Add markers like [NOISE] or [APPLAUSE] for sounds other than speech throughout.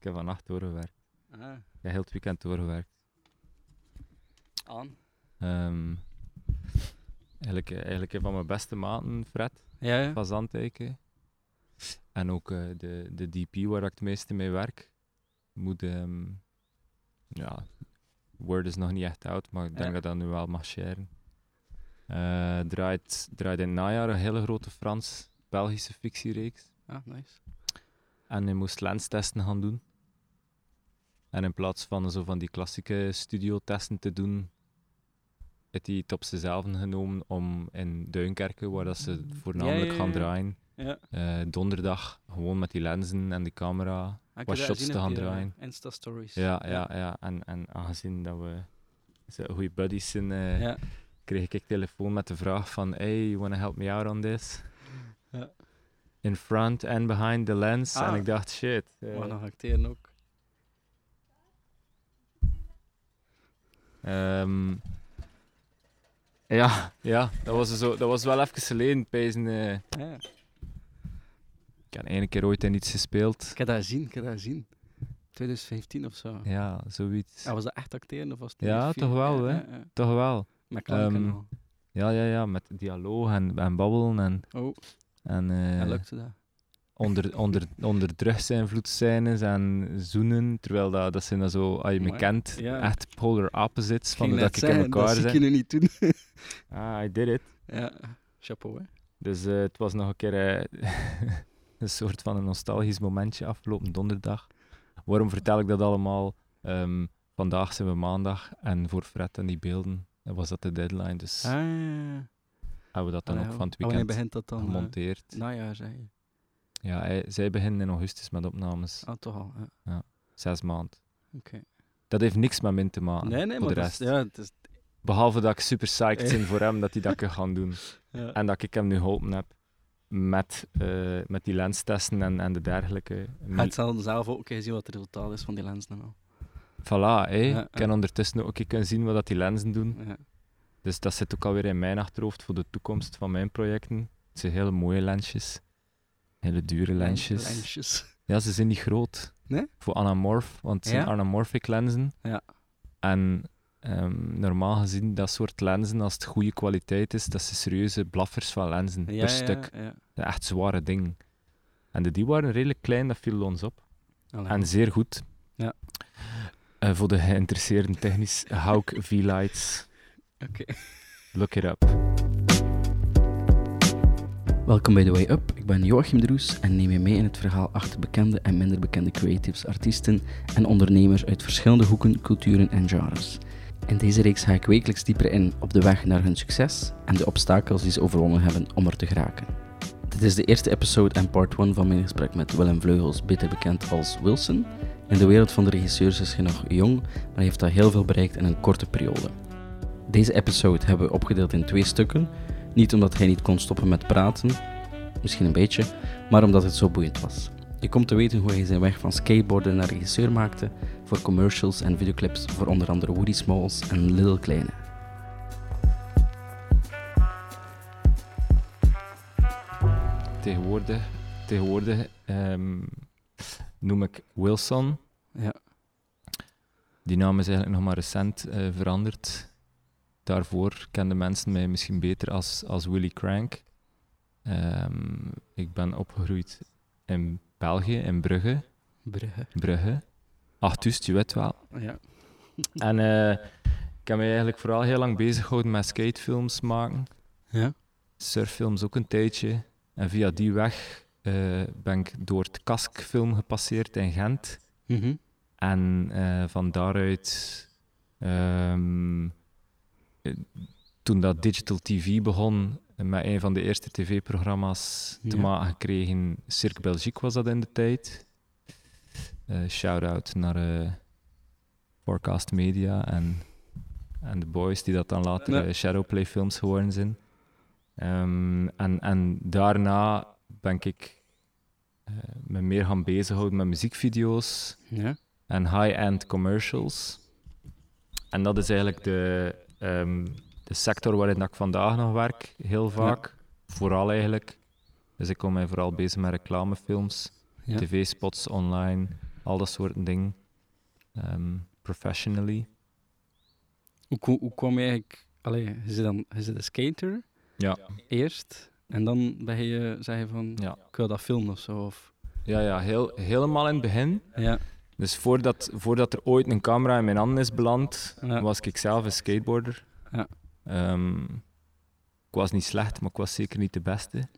heb vannacht doorgewerkt. Ah, Ik heb heel het weekend doorgewerkt. aan. Ehm, eigenlijk, eh, eigenlijk een van mijn beste maten, Fred Ja, ja. van Zandijken. En ook eh, de, de DP waar ik het meeste mee werk. Moet, ehm, ja, Word is nog niet echt oud, maar ik denk Ja. dat dat nu wel mag sharen. Eh, draait, draait in het najaar een hele grote Frans-Belgische fictiereeks. Ah, nice. En je moest lenstesten gaan doen. En in plaats van zo van die klassieke studiotesten te doen, heeft hij het op zichzelf genomen om in Duinkerken, waar dat ze voornamelijk Ja, ja, gaan ja. draaien, Ja. eh, donderdag gewoon met die lenzen en de camera. Wat shots te gaan eh, draaien. Insta-stories. Ja, ja, ja. En, en aangezien dat we goede buddies zijn, eh, Ja. kreeg ik telefoon met de vraag van hey, you wanna help me out on this? Ja. In front and behind the lens. En Ah. ik dacht, shit. eh, Mag nog acteren ook. Ehm, ja, ja dat, was zo, dat was wel even geleden. Pijzen, eh, Ja. ik heb één keer ooit in iets gespeeld. Ik heb dat gezien, ik heb dat gezien. 2015 of zo. Ja, zoiets. Ah, was dat echt acteren of was het Ja, niet toch wel, Ja, hè? ja, ja. Toch wel. Met klanken Ehm, al. Ja, ja, ja, met dialoog en, en babbelen en, Oh, en, eh, en lukte dat? onder, onder, onder drugsinvloedscènes en zoenen. Terwijl dat, dat zijn dan zo, als je me Amai, kent, ja. echt polar opposites van hoe net dat ik in zeggen, elkaar dat zie ik zit. je nu niet doen. Ah, I did it. ja, chapeau, hè? Dus eh, het was nog een keer eh, [LAUGHS] een soort van een nostalgisch momentje afgelopen donderdag. Waarom vertel ik dat allemaal? Ehm, vandaag zijn we maandag en voor Fred en die beelden eh, was dat de deadline. Dus Ah, hebben we dat dan ah, ook ja. van het Ah, Wanneer weekend begint dat dan? eh, gemonteerd. najaar, zeg je. Ja, hij- zij beginnen in augustus met opnames. Ah, toch al. ja. Zes maanden. Oké. Dat heeft niks met min te maken. nee, nee, Ah, voor maar de dat is, rest. ja, het is... Behalve dat ik super [LAUGHS] psyched ben voor hem dat hij dat kan gaan doen. Ja. En dat ik hem nu geholpen heb met, eh, met die lenstesten en, en de dergelijke. Maar het zal zelf ook een keer zien wat het resultaat is van die lens dan al. Voilà, hé. Ja, ik kan ondertussen ook een keer kunnen zien wat dat die lenzen doen. Ja. Dus dat zit ook alweer in mijn achterhoofd voor de toekomst van mijn projecten. Het zijn hele mooie lensjes. Hele dure lensjes. Lensjes. Ja, ze zijn niet groot. Nee? Voor anamorph, want het zijn Ja? anamorphic lenzen. Ja. En ehm, normaal gezien, dat soort lenzen, als het goede kwaliteit is, dat zijn serieuze blaffers van lenzen Ja, per stuk. Ja, ja. Dat Echt zware dingen. En de, die waren redelijk klein, dat viel ons op. Allee. En zeer goed. Ja. Eh, voor de geïnteresseerden technisch, Hauk V-Lights. Oké. Look it up. Welkom bij The Way Up. Ik ben Joachim de Roes en neem je mee in het verhaal achter bekende en minder bekende creatives, artiesten en ondernemers uit verschillende hoeken, culturen en genres. In deze reeks ga ik wekelijks dieper in op de weg naar hun succes en de obstakels die ze overwonnen hebben om er te geraken. Dit is de eerste episode en part 1 van mijn gesprek met Willem Vleugels, beter bekend als Wilson. In de wereld van de regisseurs is hij nog jong, maar hij heeft al heel veel bereikt in een korte periode. Deze episode hebben we opgedeeld in twee stukken. Niet omdat hij niet kon stoppen met praten, misschien een beetje, maar omdat het zo boeiend was. Je komt te weten hoe hij zijn weg van skateboarden naar regisseur maakte voor commercials en videoclips voor onder andere Woody Smalls en Lil Kleine. Tegenwoordig, tegenwoordig eh, ehm, noem ik Wilson. Ja. Die naam is eigenlijk nog maar recent eh, veranderd. Daarvoor kenden mensen mij misschien beter als, als Willy Crank. Ehm, ik ben opgegroeid in België, in Brugge. Brugge. Brugge. Achtust, je weet wel. Ja. En eh, ik heb me eigenlijk vooral heel lang bezig gehouden met skatefilms maken. Ja. Surffilms ook een tijdje. En via die weg eh, ben ik door het Kaskfilm gepasseerd in Gent. Mhm. En eh, van daaruit, ehm, eh, toen dat digital tv begon, eh, met een van de eerste tv-programma's te Ja. maken gekregen, Cirque Belgique was dat in de tijd. Eh Shout-out naar eh, Forecast Media en, en de boys die dat dan later Ja. eh, Shadowplay films geworden zijn. Ehm, en, en daarna ben ik eh, me meer gaan bezighouden met muziekvideo's Ja. en high-end commercials. En dat is eigenlijk de, ehm, de sector waarin dat ik vandaag nog werk, heel vaak. Vooral eigenlijk. Dus ik kom mij vooral bezig met reclamefilms, Ja. tv-spots online, al dat soort dingen. ehm, professionally. Hoe, ko- hoe kwam je eigenlijk... Allee, je zit, dan, je zit een skater. Ja. Eerst. En dan ben je, zeg je van, Ja, ik wil dat filmen of zo. Of, ja, ja heel, helemaal in het begin. ja. Dus voordat, voordat er ooit een camera in mijn handen is beland, Ja. was ik zelf een skateboarder. Ja. Ehm, ik was niet slecht, maar ik was zeker niet de beste.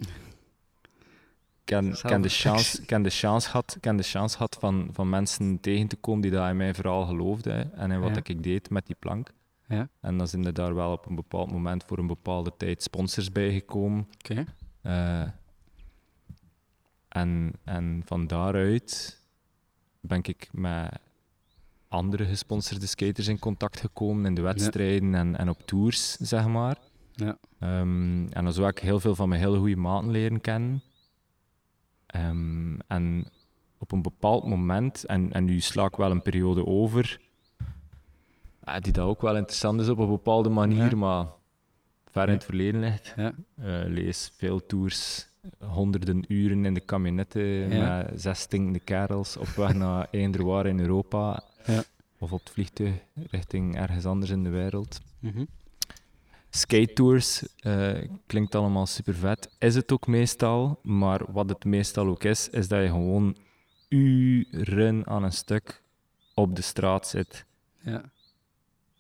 Ik ken, Zelf- ken de chance, ken de chance had, ken de chance had van, van mensen tegen te komen die daar in mijn verhaal geloofden hè, en in wat Ja. dat ik deed met die plank. Ja. En dan zijn er daar wel op een bepaald moment voor een bepaalde tijd sponsors bijgekomen. Oké. Eh, en, en van daaruit ben ik met andere gesponsorde skaters in contact gekomen in de wedstrijden en, en op tours, zeg maar. Ja. Ehm, en zo heb ik heel veel van mijn hele goede maten leren kennen. Ehm, en op een bepaald moment, en, en nu sla ik wel een periode over, eh, die dat ook wel interessant is op een bepaalde manier, Ja. maar ver in het verleden ligt. Ja. Eh, lees veel tours, honderden uren in de kamionetten Ja. met zes stinkende kerels op [LAUGHS] weg naar waar in Europa. Ja. Of op het vliegtuig richting ergens anders in de wereld. Mhm. Skate tours eh, klinkt allemaal super vet. Is het ook meestal, maar wat het meestal ook is, is dat je gewoon uren aan een stuk op de straat zit. Ja.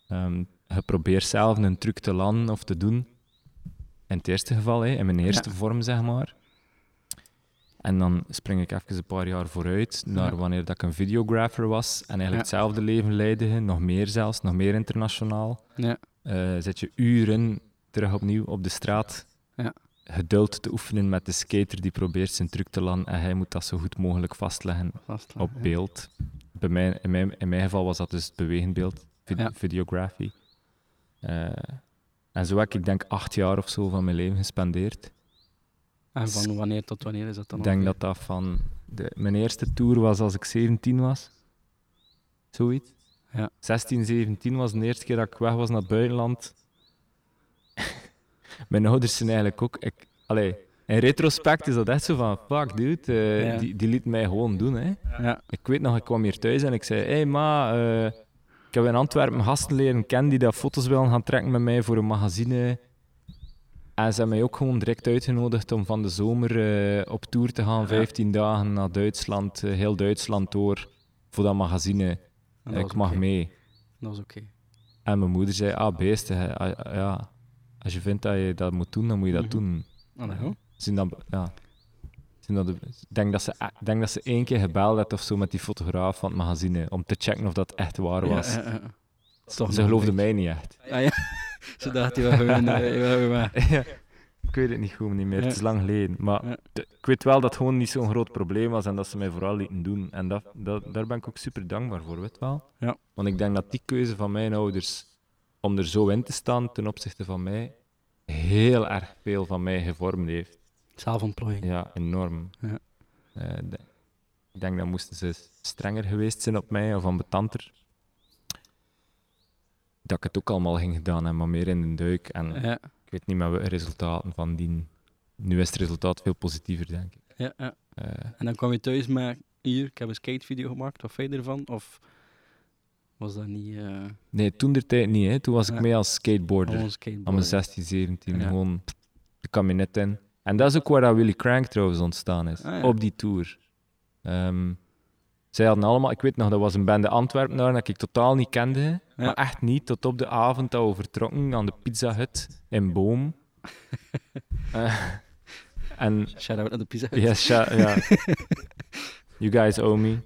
Ehm, je probeert zelf een truc te landen of te doen. In het eerste geval, hè, in mijn eerste vorm, zeg maar. En dan spring ik even een paar jaar vooruit naar Ja. wanneer dat ik een videographer was en eigenlijk Ja. hetzelfde leven leidde, nog meer zelfs, nog meer internationaal. Ja. Eh, zet je uren terug opnieuw op de straat. Ja. Geduld te oefenen met de skater die probeert zijn truc te landen en hij moet dat zo goed mogelijk vastleggen Vast op ja. beeld. Bij mij, in, mijn, in mijn geval was dat dus het bewegend beeld, vid- Ja. videografie. Eh, en zo heb ik denk acht jaar of zo van mijn leven gespendeerd. En van wanneer tot wanneer is dat dan? Ik denk ongeveer? dat dat van... De, mijn eerste tour was als ik 17 was. Zoiets. Ja. 16, 17 was de eerste keer dat ik weg was naar het buitenland. mijn ouders zijn eigenlijk ook... Ik, allee, in retrospect is dat echt zo van... Fuck, dude. eh, Ja. die, die liet mij gewoon doen, hè. Ja. Ik weet nog, ik kwam hier thuis en ik zei: Hé, hey, ma, eh, ik heb in Antwerpen gasten leren kennen die dat foto's willen gaan trekken met mij voor een magazine. En ze hebben mij ook gewoon direct uitgenodigd om van de zomer eh, op tour te gaan, 15 dagen naar Duitsland, eh, heel Duitsland door, voor dat magazine. En Ah, dat ik was mag oké. mee. Dat was oké. En mijn moeder zei: Ah, beesten, hè. Ah, ja. Als je vindt dat je dat moet doen, dan moet je dat Mhm. doen. Ah, nou, goed. Zien dat, ja. Zien dat de- ik denk dat, ze, e- ik denk dat ze één keer gebeld had of zo met die fotograaf van het magazine. Om te checken of dat echt waar Ja, was. ja, ja. Toch Ze nog geloofden een mij niet echt. beetje. Ah, ja. [LAUGHS] Ze dachten, we hebben eh, we hebben maar. [LAUGHS] Ja, ik weet het niet goed niet meer. Ja. Het is lang geleden. Maar Ja. de- ik weet wel dat het gewoon niet zo'n groot probleem was en dat ze mij vooral lieten doen. En dat, dat, daar ben ik ook super dankbaar voor, weet wel. Ja. Want ik denk dat die keuze van mijn ouders om er zo in te staan ten opzichte van mij heel erg veel van mij gevormd heeft. Zelfontplooiing. Ja, enorm. Ja. Eh, de- ik denk dat moesten ze strenger geweest zijn op mij of ambetanter. Dat ik het ook allemaal ging gedaan hebben, maar meer in de duik. En Ja. ik weet niet meer welke resultaten van die. Nu is het resultaat veel positiever, denk ik. Ja, ja. Eh, En dan kwam je thuis met, hier, ik heb een skatevideo gemaakt, wat vind je ervan? Of was dat niet eh nee, toen der tijd niet. Hè. Toen was ik Ja. Oh, mee als skateboarder. gewoon Aan mijn skateboarden? 16, 17. Ja. Gewoon de kabinet in. En dat is ook waar dat Willy Crank trouwens ontstaan is. Ah, ja. Op die tour. Ehm, zij hadden allemaal, ik weet nog, dat was een bende Antwerpenaren dat ik totaal niet kende. Maar echt niet, tot op de avond dat we vertrokken aan de Pizza Hut in [LAUGHS] Boom. Eh, en Shout-out aan de pizza. Hut. Yes, ja, ja. You guys owe me.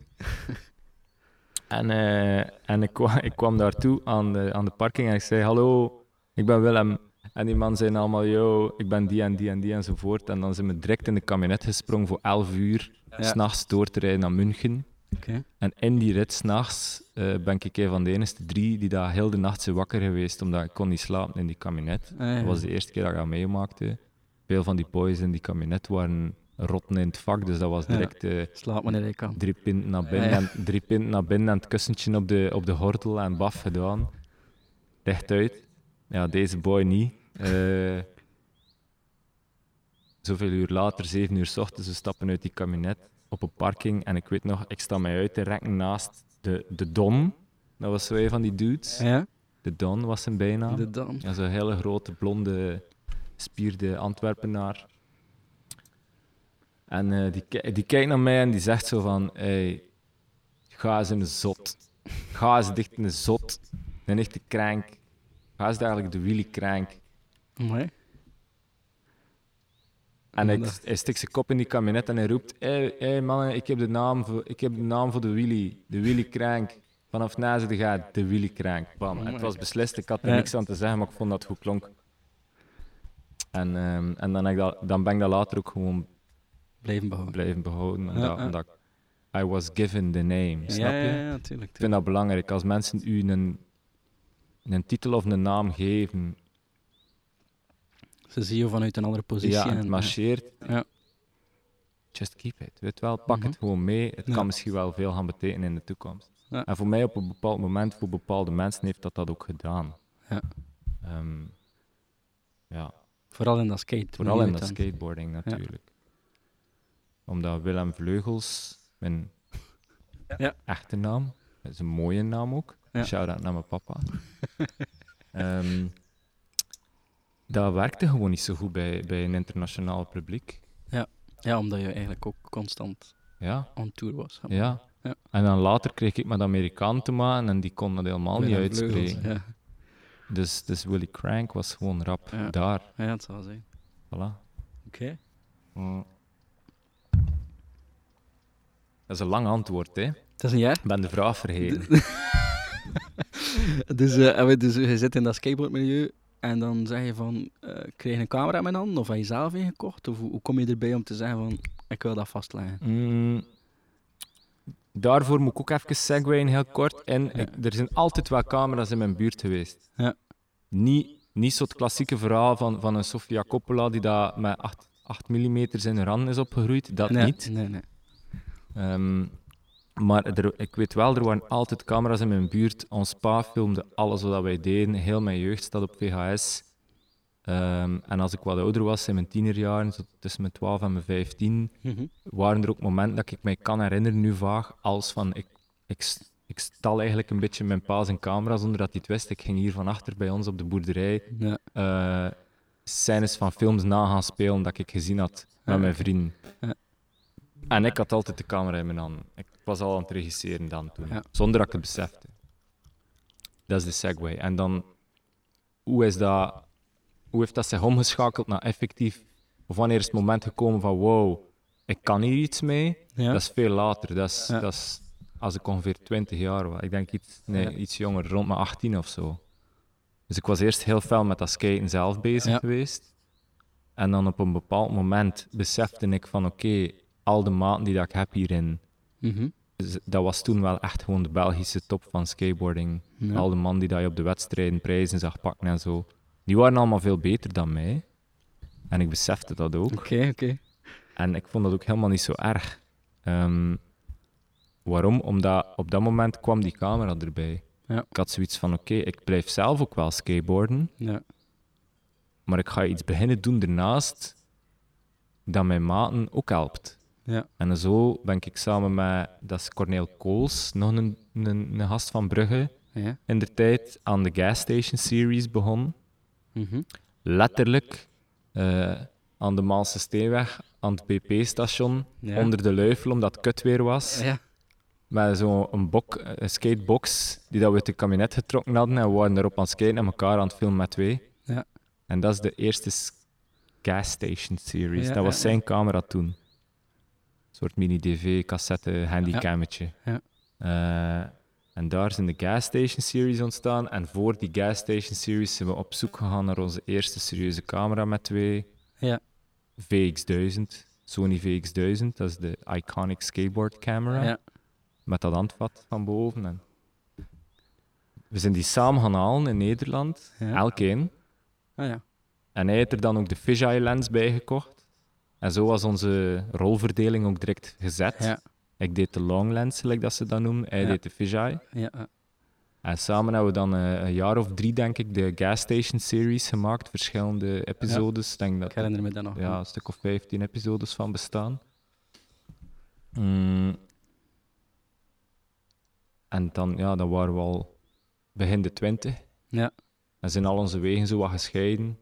En, eh, en ik, kwam, ik kwam daartoe aan de, aan de parking en ik zei: Hallo, ik ben Willem. En die man zei allemaal: Yo, ik ben die en die en die enzovoort. En dan zijn we direct in de kabinet gesprongen voor 11 uur, Ja. s'nachts door te rijden naar München. Oké. En in die rit s'nachts eh ben ik een van de enige drie die daar heel de nacht zijn wakker geweest, omdat ik kon niet slapen in die kabinet. Ah, ja. Dat was de eerste keer dat ik dat meemaakte. Veel van die boys in die kabinet waren rotten in het vak, dus dat was Ja. direct eh, Slaap wanneer je kan. drie pinten naar binnen, Ja. en, drie pinten naar binnen en het kussentje op de, op de hortel en baf gedaan. Recht uit. Ja, deze boy niet. Eh, zoveel uur later, zeven uur s ochtends, we stappen uit die kabinet. op een parking en ik weet nog, ik sta mij uit te rekken naast de, de Don. Dat was zo een van die dudes. Ja? De Don was zijn bijnaam. De dan. Ja, zo'n hele grote, blonde, spierde Antwerpenaar. En eh, die, ki- die kijkt naar mij en die zegt zo van... Hey, ga eens in een zot. Ga eens dicht in een zot. Een echte krank. Ga eens eigenlijk de wheelie krank. Mooi. En hij, Ja. hij stikt zijn kop in die kabinet en hij roept... Hé hey, mannen, ik heb, de naam voor, ik heb de naam voor de wheelie. De wheelie krank. Vanaf na ze de gaat, de wheelie krank. Bam. En het was beslist, ik had er Ja. niks aan te zeggen, maar ik vond dat het goed klonk. En, ehm, en dan, heb ik dat, dan ben ik dat later ook gewoon Blijven behouden. blijven behouden. Omdat, Ja, ja. omdat ik- I was given the name, snap ja, je? ja, ja, tuurlijk. Ik vind dat belangrijk. Als mensen u een, een titel of een naam geven, tuurlijk. Ze zien je vanuit een andere positie. ja, en het en- eh, marcheert, Ja. just keep it. Weet wel, pak het Mhm. gewoon mee. Het Ja. kan misschien wel veel gaan betekenen in de toekomst. Ja. En voor mij op een bepaald moment, voor bepaalde mensen, heeft dat dat ook gedaan. Ja. Ehm, ja. Vooral in dat skate. Vooral moet in je dat het skateboarding natuurlijk. Omdat Willem Vleugels, mijn Ja. echte naam, dat is een mooie naam ook. Ja. Shout-out naar mijn papa. [LAUGHS] Ehm, dat werkte gewoon niet zo goed bij, bij een internationaal publiek. dan. Ja, omdat je eigenlijk ook constant Ja, on tour was. hè. ja. Ja. En dan later kreeg ik met Amerikaan te maken en die kon dat helemaal Met niet een vleugel, uitspreken. Ja. Dus, dus Willy Crank was gewoon rap Ja. daar. ja, dat zou zijn. Voilà. Mm. Oké. Dat is een lang antwoord, hè? Het is een jaar. Ik ben de vraag vergeten. [LAUGHS] Dus, eh, en we- dus je zit in dat skateboardmilieu en dan zeg je van, eh krijg je een camera in mijn hand of heb je zelf ingekocht? Of hoe, hoe kom je erbij om te zeggen van, ik wil dat vastleggen? Mm, daarvoor moet ik ook even segwayen, heel kort. En Ja. ik- er zijn altijd wel camera's in mijn buurt geweest. Ja. Niet, niet zo het klassieke verhaal van, van een Sofia Coppola die daar met 8, 8 mm in haar rand is opgegroeid. Dat nee, niet. Nee, nee. Ehm, maar er, ik weet wel, er waren altijd camera's in mijn buurt. Ons pa filmde alles wat wij deden. Heel mijn jeugd staat op VHS. Ehm, en als ik wat ouder was, in mijn tienerjaren, zo tussen mijn 12 en mijn 15, waren er ook momenten dat ik mij kan herinneren, nu vaag, als van ik, ik, s- ik stal eigenlijk een beetje mijn pa's en camera zonder dat hij het wist. Ik ging hier van achter bij ons op de boerderij Ja. eh scènes van films na gaan spelen dat ik gezien had met Ja. mijn vrienden. Ja. En ik had altijd de camera in mijn hand. Ik was al aan het regisseren dan toen, Ja. zonder dat ik het besefte. Dat is de segue. En dan, hoe, is dat, hoe heeft dat zich omgeschakeld naar effectief? Of wanneer is het moment gekomen van wow, ik kan hier iets mee? Ja. Dat is veel later. Dat is, Ja. dat is als ik ongeveer 20 jaar was. Ik denk iets, nee, Ja. iets jonger, rond mijn 18 of zo. Dus ik was eerst heel fel met dat skaten zelf bezig Ja. geweest. En dan op een bepaald moment besefte ik van oké, al de maten die dat ik heb hierin. Mhm. Dus dat was toen wel echt gewoon de Belgische top van skateboarding. Ja. Al de mannen die dat je op de wedstrijden prijzen zag pakken en zo. Die waren allemaal veel beter dan mij. En ik besefte dat ook. Oké, oké. En ik vond dat ook helemaal niet zo erg. Ehm, waarom? Omdat op dat moment kwam die camera erbij. Ja. Ik had zoiets van, oké, ik blijf zelf ook wel skateboarden, Ja. maar ik ga iets beginnen doen ernaast dat mijn maten ook helpt. Ja. En zo ben ik samen met, dat is Corneel Kools, nog een, een, een gast van Brugge, Ja. in de tijd aan de Gas Station Series begonnen. Mhm. Letterlijk eh, aan de Maalse Steenweg, aan het BP-station, Ja. onder de luifel omdat het kut weer was. Ja. Met zo'n bok, eh, een skatebox die dat we uit het kabinet getrokken hadden. En we waren erop aan het skaten en elkaar aan het filmen met twee. Ja. En dat is de eerste s- gas station series. Ja, dat was ja, ja. zijn camera toen. Een soort mini-dv, cassette, handycammetje. Ja. Eh, en daar zijn de gas station series ontstaan. En voor die gas station series zijn we op zoek gegaan naar onze eerste serieuze camera met twee. Ja. VX1000, Sony VX1000, dat is de iconic skateboard camera Ja. met dat handvat van boven. En we zijn die samen gaan halen in Nederland, Ja. elk één. Ah, ja. En hij heeft er dan ook de fisheye lens bij gekocht. En zo was onze rolverdeling ook direct gezet. Ja. Ik deed de long lens, like dat ze dat noemen. Hij Ja. deed de fisheye. Ja. ja. En samen hebben we dan eh, een jaar of drie, denk ik, de Gas Station series gemaakt. Verschillende episodes. Ik Denk dat Ik herinner me dat nog. ja, een stuk of 15 episodes van bestaan. Mm. En dan, ja, dan waren we al begin de twintig. Ja. En zijn al onze wegen zo wat gescheiden.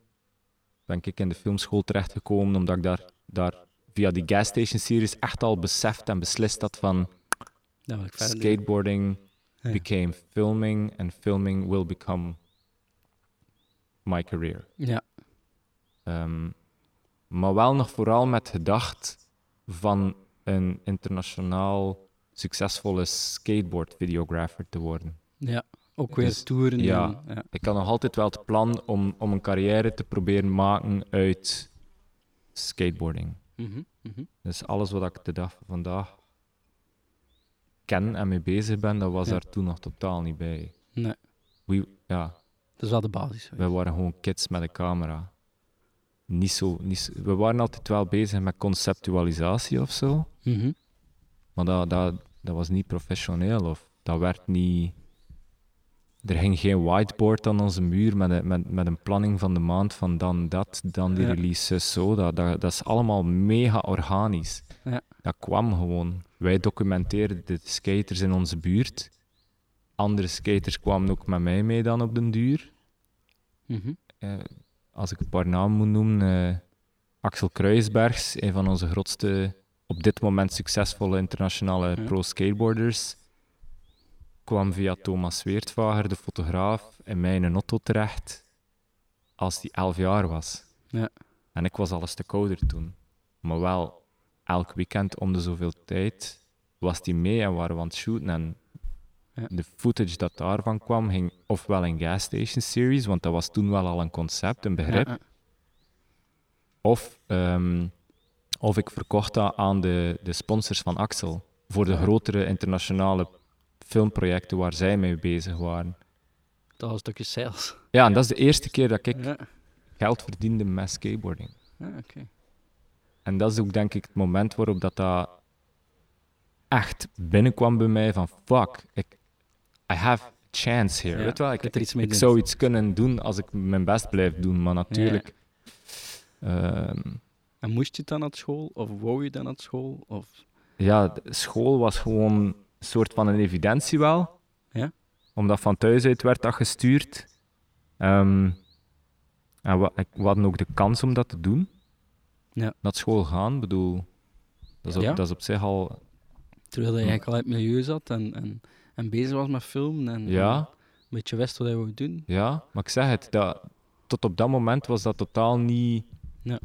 Ben ik in de filmschool terechtgekomen, omdat ik daar, daar via die gas station series echt al beseft en beslist had van Dat wil ik verder doen. skateboarding Ja. became filming and filming will become my career. Ja, Ehm, maar wel nog vooral met gedacht van een internationaal succesvolle skateboard videografer te worden. ja. Ook weer Dus- toeren. ja. en- ja. Ik had nog altijd wel het plan om, om een carrière te proberen maken uit skateboarding. Mhm, mhm. Dus alles wat ik de dag van vandaag ken en mee bezig ben, dat was Ja. daar toen nog totaal niet bij. Nee. We, ja, Dat is wel de basis. we waren gewoon kids met een camera. Niet zo, niet zo- we waren altijd wel bezig met conceptualisatie of zo. Mhm. Maar dat, dat, dat was niet professioneel of dat werd niet. Er ging geen whiteboard aan onze muur met een, met, met een planning van de maand van dan dat, dan die Ja. release, zus, zo. Dat, dat, dat is allemaal mega organisch. Ja. Dat kwam gewoon. Wij documenteerden de skaters in onze buurt. Andere skaters kwamen ook met mij mee dan op den duur Mhm. eh, als ik een paar namen moet noemen, eh, Axel Kruisbergs, een van onze grootste, op dit moment succesvolle internationale Ja. pro-skateboarders, kwam via Thomas Weertvager, de fotograaf, in mijn auto terecht als die 11 jaar was. Ja. En ik was alles te kouder toen. Maar wel, elk weekend om de zoveel tijd was die mee en waren we aan het shooten. En Ja. de footage dat daarvan kwam, ging ofwel in gas station series, want dat was toen wel al een concept, een begrip. Ja, Of, ehm, of ik verkocht dat aan de, de sponsors van Axel voor de grotere internationale filmprojecten waar zij mee bezig waren. dat was een stukje sales. Ja, en dat is de eerste keer dat ik Ja, geld verdiende met skateboarding. ja oké. En dat is ook denk ik het moment waarop dat, dat echt binnenkwam bij mij van fuck, ik, I have a chance here. Ja, Weet wel, ik, kunt er iets mee ik doen. zou iets kunnen doen als ik mijn best blijf doen, maar natuurlijk... ehm, En moest je dan naar school? Of wou je dan naar school? Of... ja, de school was gewoon een soort van een evidentie wel. Ja. Omdat van thuis uit werd dat gestuurd. Ehm, en we, ik- we hadden ook de kans om dat te doen. Ja. Naar school gaan, ik bedoel, dat is, op, Ja. dat is op zich al... Terwijl je eigenlijk al in het milieu zat en, en, en bezig was met filmen. En, en Ja, een beetje wist wat je wou doen. ja, maar ik zeg het, dat, tot op dat moment was dat totaal niet Ja.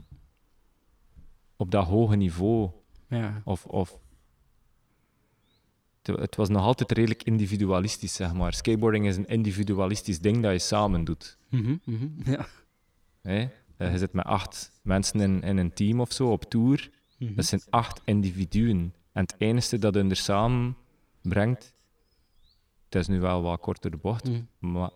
op dat hoge niveau. Ja. Of, of het, het was nog altijd redelijk individualistisch, zeg maar. Skateboarding is een individualistisch ding dat je samen doet. Mhm, mhm, ja. Hè? Eh, je zit met acht mensen in, in een team of zo op tour. Mhm. Dat zijn acht individuen. En het enige dat hun er samen brengt, het is nu wel wat korter de bocht, Mhm. maar,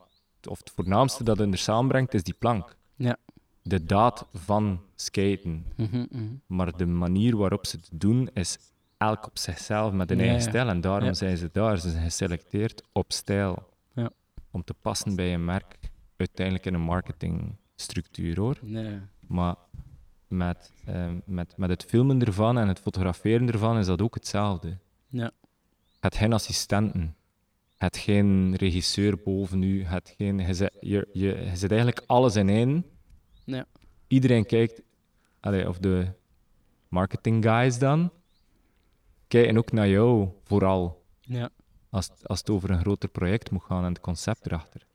of het voornaamste dat hun er samen brengt, is die plank. Ja. De daad van skaten. Mhm, mhm. Maar de manier waarop ze het doen is elk op zichzelf met hun Ja, eigen ja. stijl. En daarom Ja. zijn ze daar. Ze zijn geselecteerd op stijl. Ja. Om te passen bij een merk. Uiteindelijk in een marketingstructuur hoor. Nee. Maar met, eh, met, met het filmen ervan en het fotograferen ervan is dat ook hetzelfde. Ja. Het geen assistenten. Het geen regisseur boven u. Het geen, je, zet, je, je, je zet eigenlijk alles in één. Ja. Iedereen kijkt, allee, of de marketing guys dan, kijken ook naar jou vooral. Ja, Als, als het over een groter project moet gaan en het concept erachter.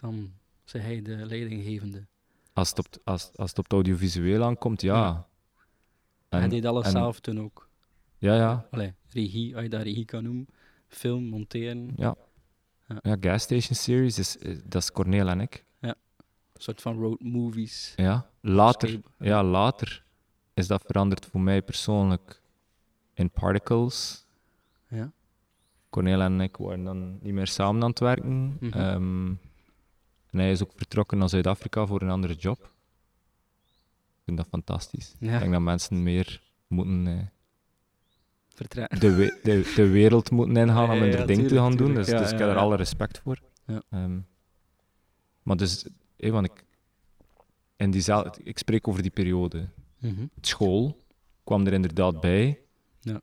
dan zei hij de leidinggevende. Als het op, het- als, als het, op het audiovisueel aankomt, ja. Ja. hij deed alles en- zelf toen ook. Ja, ja. Allee, regie, als je dat regie kan noemen. Film, monteren, Ja. Ja. Ja, Gas Station Series, is, is- dat is Cornel en ik. een soort van road movies. Ja. Later, Escape. ja, later is dat veranderd voor mij persoonlijk in Particles. Ja. Cornel en ik waren dan niet meer samen aan het werken. Mhm. Ehm, en hij is ook vertrokken naar Zuid-Afrika voor een andere job. Ik vind dat fantastisch. Ik Ja, denk dat mensen meer moeten, eh, vertrek. de, we- de, de wereld moeten ingaan [LAUGHS] Ja, om ja, hun ja, ding te tuurlijk, gaan doen. tuurlijk. Dus, Ja, dus ik ja, heb er ja. alle respect voor. Ja. Ehm, maar dus, eh, want ik, in diezelfde, ik spreek over die periode. Mhm. School kwam er inderdaad bij. Ja.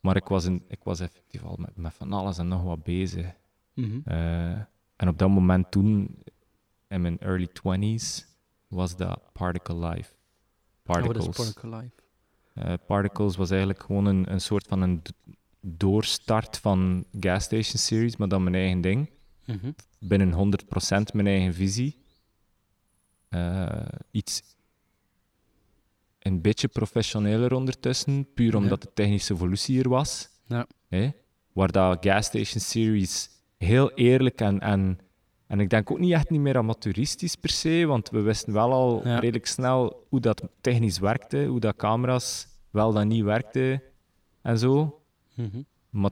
Maar ik was, in, ik was effectief al met, met van alles en nog wat bezig. Mhm. Eh, en op dat moment toen, in mijn early 20s, was dat Particle Life. Oh, dat Particles. is Particle Life. Eh, Particles was eigenlijk gewoon een, een soort van een d- doorstart van Gas Station Series, maar dan mijn eigen ding. Mhm. Binnen 100% mijn eigen visie. Eh, iets een beetje professioneler ondertussen, puur Ja. omdat de technische evolutie er was. Ja. Hè? Waar dat Gas Station Series heel eerlijk en, en, en ik denk ook niet echt niet meer amateuristisch per se, want we wisten wel al Ja. redelijk snel hoe dat technisch werkte, hoe dat camera's wel dan niet werkten en zo. Mhm. Maar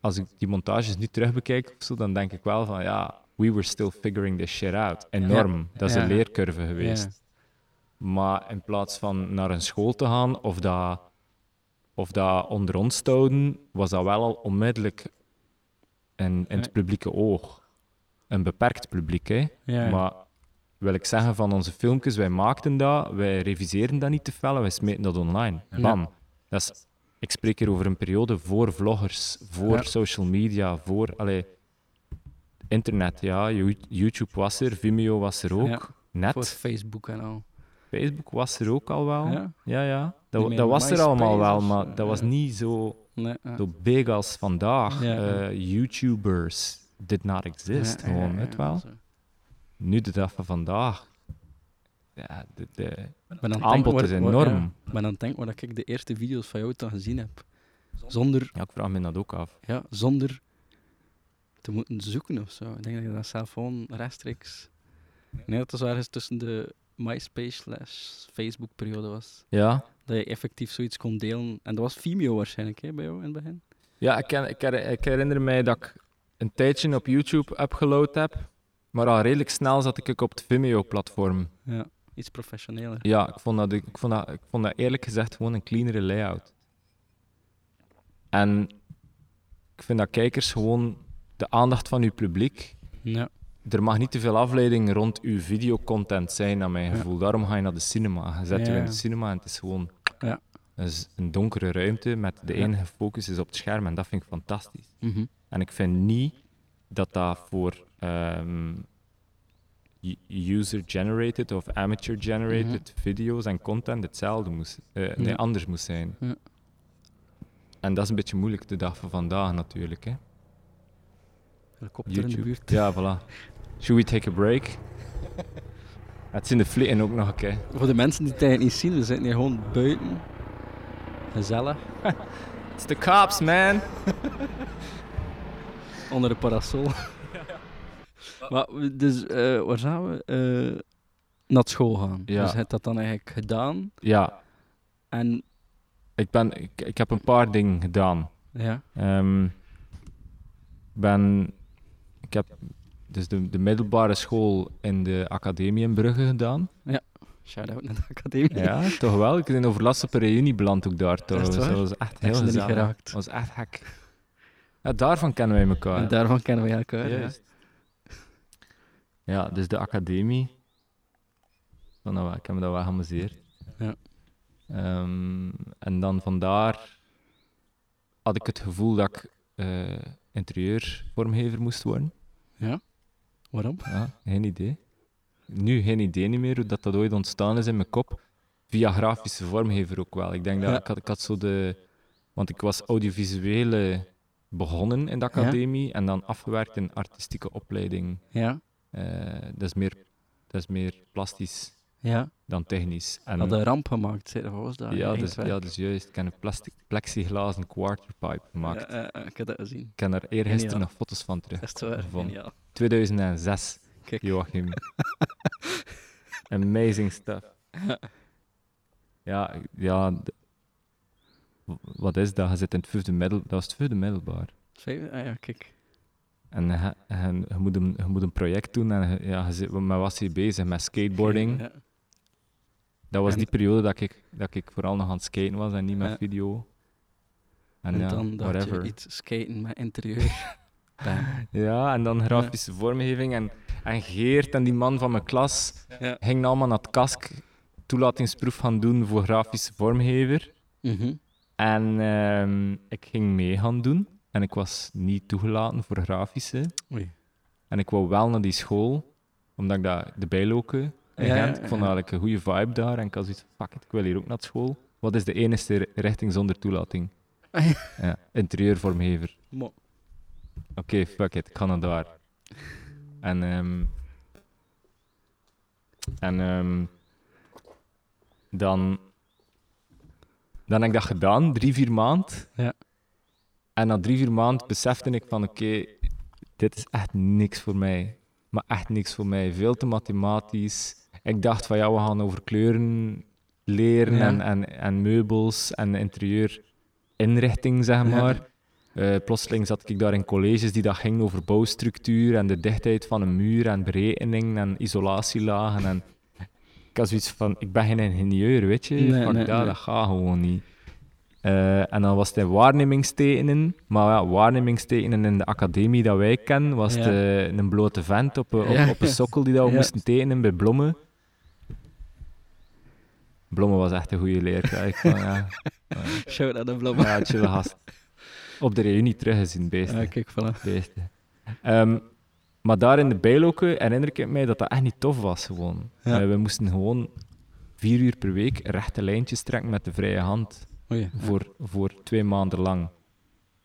als ik die montages nu terugbekijk, of zo, dan denk ik wel van ja, we were still figuring this shit out. Enorm. Dat is Ja. een leercurve geweest. Maar in plaats van naar een school te gaan of dat, of dat onder ons te houden, was dat wel al onmiddellijk in, in Ja. het publieke oog. Een beperkt publiek, hè? Ja, ja. Maar wil ik zeggen van onze filmpjes, wij maakten dat, wij reviseren dat niet te fel en wij smeten dat online. Ja. Bam. Dat is, ik spreek hier over een periode voor vloggers, voor Ja. social media, voor allee, internet. Ja, You- YouTube was er, Vimeo was er ook, Ja, net. Voor Facebook en al. Facebook was er ook al wel. Ja, Ja? ja. Niet Dat, meer dat was er MySpace allemaal wel, of zo, maar dat was ja. niet zo, Nee, eh, ja. zo big als vandaag. Ja, ja. Eh, YouTubers did not exist, Ja, ja, gewoon, ja, weet ja, wel. eh, zo. Nu de dag van vandaag. Ja, de, de, Maar dan het aanbod denk is waar- waar- enorm. ja. Maar dan denk ik dat ik de eerste video's van jou dan gezien heb. Zonder, Ja, ik vraag me dat ook af. ja, zonder te moeten zoeken of zo. Ik denk dat je dat zelf gewoon rechtstreeks. Nee, dat was ergens tussen de MySpace slash Facebook periode was. Ja, Dat je effectief zoiets kon delen. En dat was Vimeo waarschijnlijk hè, bij jou in het begin. ja ik, ken- ik, her- ik herinner mij dat ik een tijdje op YouTube upgeload heb. Maar al redelijk snel zat ik op het Vimeo-platform. Ja, iets professioneler. Ja, ik vond, dat, ik, vond dat, ik vond dat eerlijk gezegd gewoon een cleanere layout. En ik vind dat kijkers gewoon de aandacht van uw publiek. Ja, Er mag niet te veel afleiding rond uw videocontent zijn, naar mijn Ja. gevoel. Daarom ga je naar de cinema. Je zet Ja, je in ja. de cinema en het is gewoon Ja. een z- een donkere ruimte met de Ja. enige focus is op het scherm. En dat vind ik fantastisch. En ik vind niet dat dat voor ehm, u- user-generated of amateur-generated video's en content hetzelfde moest, eh, Mhm. Ja. nee, anders moest zijn. Ja. En dat is een beetje moeilijk de dag van vandaag natuurlijk. Hè. helikopter in de YouTube. buurt. Ja, voilà. Should we take a break? het zijn de flitten ook nog een keer. Voor de mensen die het eigenlijk niet zien, we zitten hier gewoon buiten. Gezellig, It's the cops, man! onder een [LAUGHS] parasol. [LAUGHS] Maar, we- dus, eh, waar zijn we? Eh, naar school gaan. Ja. Dus je hebt dat dan eigenlijk gedaan. Ja, En ik, ben, ik, ik heb een paar dingen gedaan. ja, Ehm, ik ben, ik heb dus de, de middelbare school in de academie in Brugge [LAUGHS] gedaan. shout-out naar de academie. Ja, [LAUGHS] toch wel. Ik ben overlast op een reunie beland ook daar. trouwens. waar? Dat was echt Ik heel ben er niet gezellig. geraakt. Dat was echt hek. Ja, daarvan kennen wij elkaar. [LAUGHS] En daarvan kennen we elkaar. Ja. Juist. Ja, dus de academie. Ik vond dat wel- Ik heb me dat wel geamuseerd. Ja. Ehm, en dan vandaar had ik het gevoel dat ik eh, interieurvormgever moest worden. Waarom? Ja, geen idee. Nu geen idee niet meer hoe dat, dat ooit ontstaan is in mijn kop. Via grafische vormgever ook wel. Ik denk dat Ja. ik, had, ik had zo de... Want ik was audiovisuele begonnen in de Ja. academie en dan afgewerkt in artistieke opleiding. Ja, Eh, dat, is meer, dat is meer plastisch ja. dan technisch. En, Had een ramp gemaakt, zeg. Wat was dat? ja, dus, Eindwerk. ja, dus juist. Ik heb een plastic, plexiglazen quarterpipe gemaakt. Ja, eh, eh, ik heb dat gezien. Ik heb daar eergisteren Geniaal. nog foto's van terug. Is het waar? Gevonden. Geniaal. 2006, Kijk. [LAUGHS] Joachim. Amazing stuff. Ja, ja. d- w- Wat is dat? Je zit in het vijfde middel... Dat was het vijfde middelbaar. Vijf- Ah ja, kijk. En je, je- je moet, een, je moet een project doen en je- ja, je zit, met wat was je bezig? Met skateboarding. Ja. Dat was En- die periode dat ik, dat ik vooral nog aan het skaten was en niet met Ja. video. En, En, ja, dan dacht whatever. je iets skaten met [LAUGHS] interieur. [LAUGHS] Bam. Ja, en dan grafische vormgeving. En, en Geert en die man van mijn klas Ja. gingen allemaal naar het KASK toelatingsproef gaan doen voor grafische vormgever. Mhm. En ehm, ik ging mee gaan doen. En ik was niet toegelaten voor grafische. Oei. En ik wou wel naar die school, omdat ik daar de bijloken in Ja, ja, Gent, ik vond ja. eigenlijk een goede vibe daar. En ik had zoiets van, fuck it, ik wil hier ook naar school. Wat is de enige ri- richting zonder toelating? Ah, ja. ja, interieurvormgever. Mo- Oké, fuck it, ik ga naar daar. En, ehm, en ehm, dan, dan heb ik dat gedaan, drie, vier maanden. Ja. En na drie, vier maanden besefte ik van, oké, dit is echt niks voor mij. Maar echt niks voor mij. Veel te mathematisch. Ik dacht van, ja, we gaan over kleuren leren Ja. en, en, en meubels en interieurinrichting, zeg Ja. maar. Eh, plotseling zat ik daar in colleges die dat ging over bouwstructuur en de dichtheid van een muur en berekening en isolatielagen. En [LAUGHS] ik had zoiets van, ik ben geen ingenieur, weet je. Nee, Fuck nee, dat, nee. dat gaat gewoon niet. Eh, en dan was het in waarnemingstekenen. Maar ja, waarnemingstekenen in de academie dat wij kennen, was het, Ja. eh, een blote vent op, een- op, Ja. op een sokkel die dat we Ja. moesten tekenen bij Blomme. Blomme was echt een goede leerkracht. [LAUGHS] Ik vond, ja, Shout out aan Blabber. ja, chille gast. Op de reunie teruggezien, beest. Ah, kijk, voilà. Beesten. Ehm, maar daar in de bijloken herinner ik mij dat dat echt niet tof was gewoon. Ja. Eh, we moesten gewoon vier uur per week rechte lijntjes trekken met de vrije hand Oei. voor, voor twee maanden lang.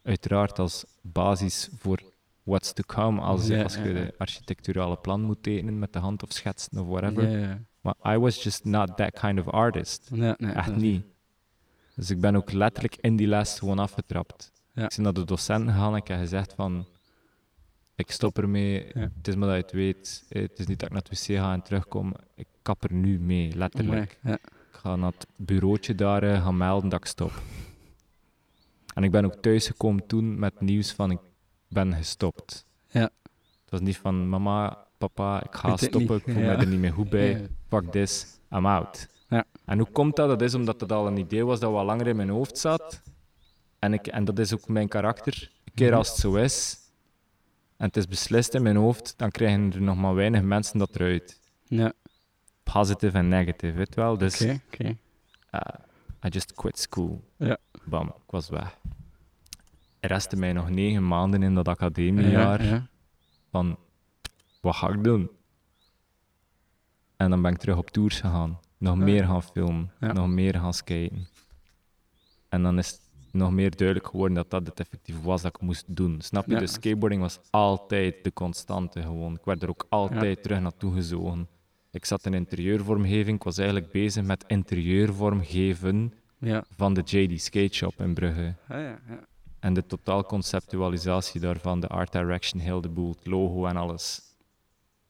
Uiteraard als basis voor what's to come als, Ja, als je ja, ja. de architecturale plan moet tekenen met de hand of schetsen of whatever. Ja, ja, ja. Maar I was just not that kind of artist. Ja, nee, Echt dat- niet. Dus ik ben ook letterlijk in die les gewoon afgetrapt. Ja. Ik ben naar de docent gegaan en ik heb gezegd van... Ik stop ermee, Ja. het is maar dat je het weet. Eh, Het is niet dat ik naar het wc ga en terugkom. Ik kap er nu mee, letterlijk. Amai, Ja. Ik ga naar het bureautje daar eh, gaan melden dat ik stop. En ik ben ook thuisgekomen toen met nieuws van ik ben gestopt. Ja. Het was niet van mama, papa, ik ga weet het stoppen, niet. ik voel Ja. me er niet meer goed bij Ja. fuck this, I'm out. Ja. En hoe komt dat? Dat is omdat het al een idee was dat wat langer in mijn hoofd zat. En, ik, en dat is ook mijn karakter. Een Mhm. keer als het zo is, en het is beslist in mijn hoofd, dan krijgen er nog maar weinig mensen dat eruit. Ja, Positive en negative, weet je wel? Dus oké, oké. eh, I just quit school. Ja. Bam, ik was weg. Er restte mij nog negen maanden in dat Ja, academiejaar ja. van wat ga ik doen? En dan ben ik terug op tours gegaan. Nog Ja. meer gaan filmen, Ah. Ja. nog meer gaan skaten. En dan is het nog meer duidelijk geworden dat dat het effectief was dat ik moest doen. Snap je? Ja. Dus skateboarding was altijd de constante gewoon. Ik werd er ook altijd terug naartoe gezogen. Ik zat in interieurvormgeving. Ik was eigenlijk bezig met interieurvormgeven Ja. van de JD Skate Shop in Brugge. Ah, ja, ja. En de totaalconceptualisatie daarvan, de art direction, heel de boel, het logo en alles.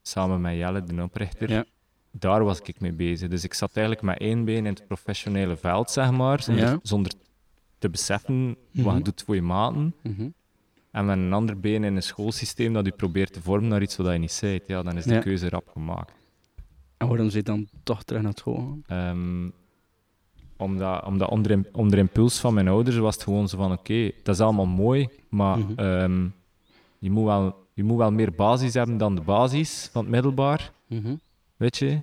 Samen met Jelle, de oprichter. Ja. Daar was ik mee bezig. Dus ik zat eigenlijk met één been in het professionele veld, zeg maar. Zonder, Ja. zonder te beseffen wat Mhm. je doet voor je maten. Mhm. En met een ander been in een schoolsysteem dat je probeert te vormen naar iets wat je niet zijt. Ja, dan is Ja. de keuze rap gemaakt. En waarom zit dan toch terug naar het school? gegaan? Ehm, omdat omdat onder, im- onder impuls van mijn ouders was het gewoon zo van: oké, dat is allemaal mooi, maar Mhm. ehm, je, moet wel, je moet wel meer basis hebben dan de basis van het middelbaar, Mhm. weet je.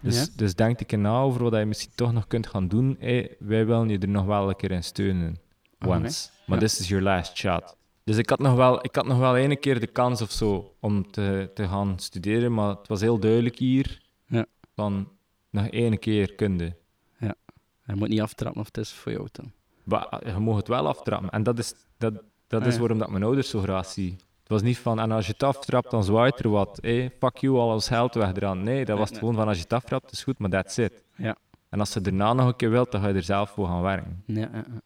Dus, Ja. dus denk ik na over wat je misschien toch nog kunt gaan doen. Hé, wij willen je er nog wel een keer in steunen. Oké. Once. Maar Ah, Ja. this is your last shot. Dus ik had nog wel, ik had nog wel ene keer de kans of zo om te, te gaan studeren, maar het was heel duidelijk hier Ja. van nog ene keer kunde. Hij moet niet aftrappen of het is voor jou dan. Wa- je mag het wel aftrappen. En dat is, dat, dat Ah, is ja. waarom dat mijn ouders zo graag zien. Het was niet van, en als je het aftrapt, dan zwaait er wat. Hey, fuck you, al ons geld weg eraan. Nee, dat was het nee. gewoon van, als je het aftrapt, is goed, maar that's it. Ja. En als ze daarna nog een keer wilt, dan ga je er zelf voor gaan werken. Ja, ja, ja.